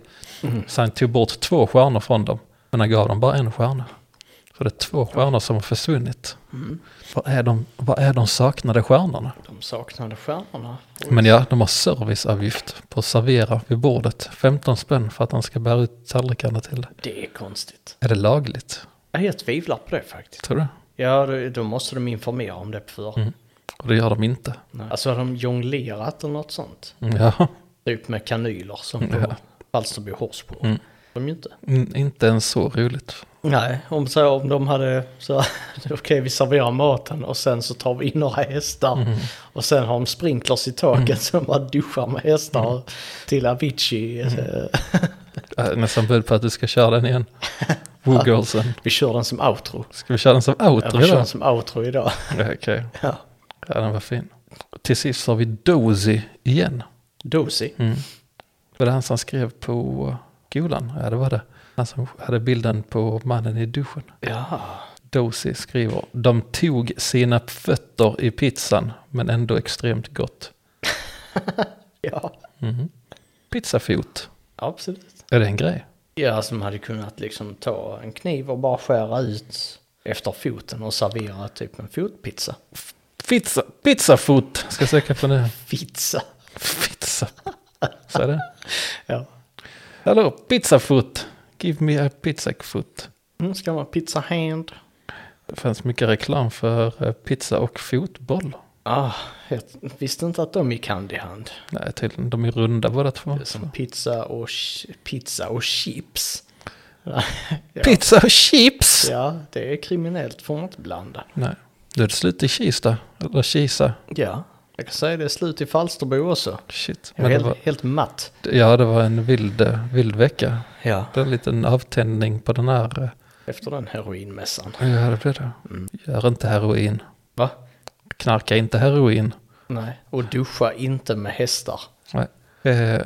Speaker 2: Så han tog bort två stjärnor från dem. Men han gav dem bara en stjärna. Så det är två stjärnor som har försvunnit. Vad är de, vad är de saknade stjärnorna?
Speaker 1: De saknade stjärnorna.
Speaker 2: Men ja, de har serviceavgift på att servera vid bordet. 15 spänn för att han ska bära ut tallrikarna till det.
Speaker 1: Det är konstigt.
Speaker 2: Är det lagligt?
Speaker 1: Ja, Jag tvivlar på det faktiskt.
Speaker 2: Tror du?
Speaker 1: Ja, då- då måste de informera om det på förhand.
Speaker 2: Mm. Och det gör de inte. Mm,
Speaker 1: Nej. Alltså har de jonglerat eller något sånt?
Speaker 2: Ja,
Speaker 1: Typ med kanyler som på
Speaker 2: Ja.
Speaker 1: Falsterbo Horsbo. De ju inte.
Speaker 2: mm, inte ens så roligt.
Speaker 1: Nej, om, så, om de hade så okej vi serverar maten och sen så tar vi in några hästar. Och sen har de sprinklers i taket som bara duschar med hästar till Avicii. eh,
Speaker 2: Äh, nästan bud på att du ska köra den igen. Woogirlsen.
Speaker 1: Vi kör den som outro.
Speaker 2: Ska vi köra den som
Speaker 1: Ja, vi
Speaker 2: outro
Speaker 1: kör
Speaker 2: idag?
Speaker 1: den som outro idag.
Speaker 2: Ja, Okej.
Speaker 1: Ja.
Speaker 2: Ja, den var fin. Till sist har vi Dozy igen.
Speaker 1: Dozy.
Speaker 2: Var det han som skrev på skolan? Ja, det var det. Han som hade bilden på mannen i duschen.
Speaker 1: Ja.
Speaker 2: Dozy skriver, de tog sina fötter i pizzan, men ändå extremt gott.
Speaker 1: ja,
Speaker 2: Pizzafot,
Speaker 1: absolut.
Speaker 2: är det en grej?
Speaker 1: Ja, som hade kunnat liksom ta en kniv och bara skära ut efter foten och servera typ en fotpizza.
Speaker 2: Pizza, pizzafot, ska jag söka på nu.
Speaker 1: Pizza.
Speaker 2: Pizza, så är det.
Speaker 1: Ja.
Speaker 2: Hallå, pizzafot, give me a pizza foot.
Speaker 1: Nu Mm, ska man pizza hand.
Speaker 2: Det fanns mycket reklam för eh, pizza och fotboll.
Speaker 1: Ah, jag visste inte att de gick hand i hand.
Speaker 2: Nej, tydligen, de är runda båda två.
Speaker 1: Det är som pizza och, ch- pizza och chips. ja.
Speaker 2: Pizza och chips!
Speaker 1: ja, det är kriminellt. Får man inte blanda.
Speaker 2: Nej, nu är det slut i Kista, eller Kisa.
Speaker 1: Ja, jag kan säga det är slut i Falsterbo också.
Speaker 2: Shit,
Speaker 1: Jag är
Speaker 2: men det
Speaker 1: helt,
Speaker 2: var,
Speaker 1: helt matt.
Speaker 2: ja, det var en vild, eh, vild vecka.
Speaker 1: Ja.
Speaker 2: Det är en liten avtändning på den här. eh,
Speaker 1: Efter den heroinmässan.
Speaker 2: Ja, det blir det. Gör inte heroin.
Speaker 1: Va?
Speaker 2: Knarka inte heroin.
Speaker 1: Nej. Och duscha inte med hästar.
Speaker 2: Nej. Eh,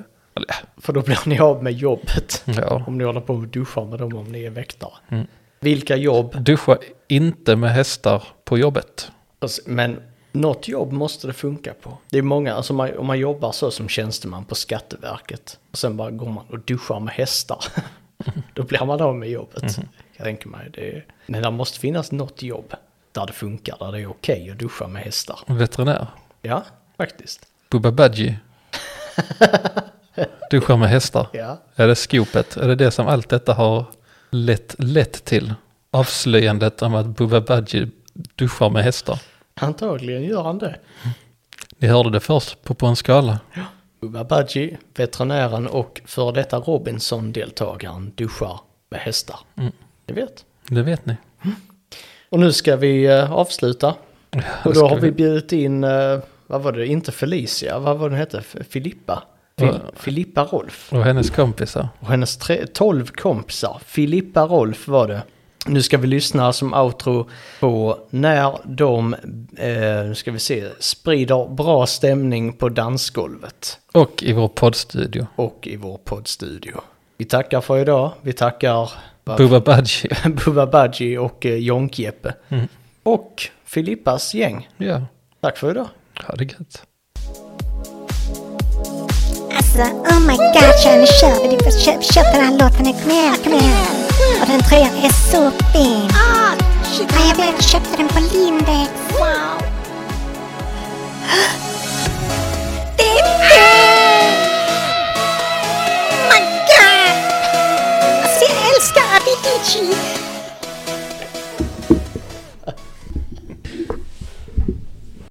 Speaker 1: För då blir ni av med jobbet.
Speaker 2: ja.
Speaker 1: Om ni håller på och duschar med dem om ni är väktare.
Speaker 2: Mm.
Speaker 1: Vilka jobb?
Speaker 2: Duscha inte med hästar på jobbet.
Speaker 1: Alltså, Men något jobb måste det funka på. Det är många, alltså man, om man jobbar så som tjänsteman på Skatteverket. Och sen bara går man och duschar med hästar. då blir man av med jobbet. Jag tänker mig det. är- Men det måste finnas något jobb där det funkar, där det är okej att duscha med hästar.
Speaker 2: Veterinär.
Speaker 1: Ja, faktiskt.
Speaker 2: Bubba Budgie. Duscha med hästar.
Speaker 1: Ja.
Speaker 2: Är det skopet? Är det det som allt detta har lett, lett till? Avslöjandet om att Bubba Budgie duschar med hästar.
Speaker 1: Antagligen gör han det.
Speaker 2: Ni hörde det först på På en skala.
Speaker 1: Bubba Budgie, veterinären och före detta Robinson-deltagaren duschar med hästar. Ni vet.
Speaker 2: Det vet ni.
Speaker 1: Och nu ska vi eh, avsluta. Och då
Speaker 2: ska
Speaker 1: har vi
Speaker 2: vi.
Speaker 1: bjudit in, eh, vad var det, inte Felicia, vad var den hette, F- Filippa? Fil- Filippa Rolf.
Speaker 2: Och hennes kompisar.
Speaker 1: Och hennes tre, 12 kompisar. Filippa Rolf var det. Nu ska vi lyssna som outro på när de, eh, nu ska vi se, sprider bra stämning på dansgolvet.
Speaker 2: Och i vår poddstudio.
Speaker 1: Och i vår poddstudio. Vi tackar för idag. Vi tackar
Speaker 2: Bubba Budgie.
Speaker 1: Bubba Budgie och eh, Jonk-Jeppe.
Speaker 2: Mm.
Speaker 1: Och Filippas gäng.
Speaker 2: Ja,
Speaker 1: Tack för idag.
Speaker 2: ha det gött.
Speaker 7: Alltså oh my god Johnny kör vi. Du får köp, köp den här låten nu. Kom igen, kom igen. Och den tröjan är så fin. Ja, jag vet, jag köpte den på Lindex. Wow. Det är det! My god! Alltså jag älskar Avicii.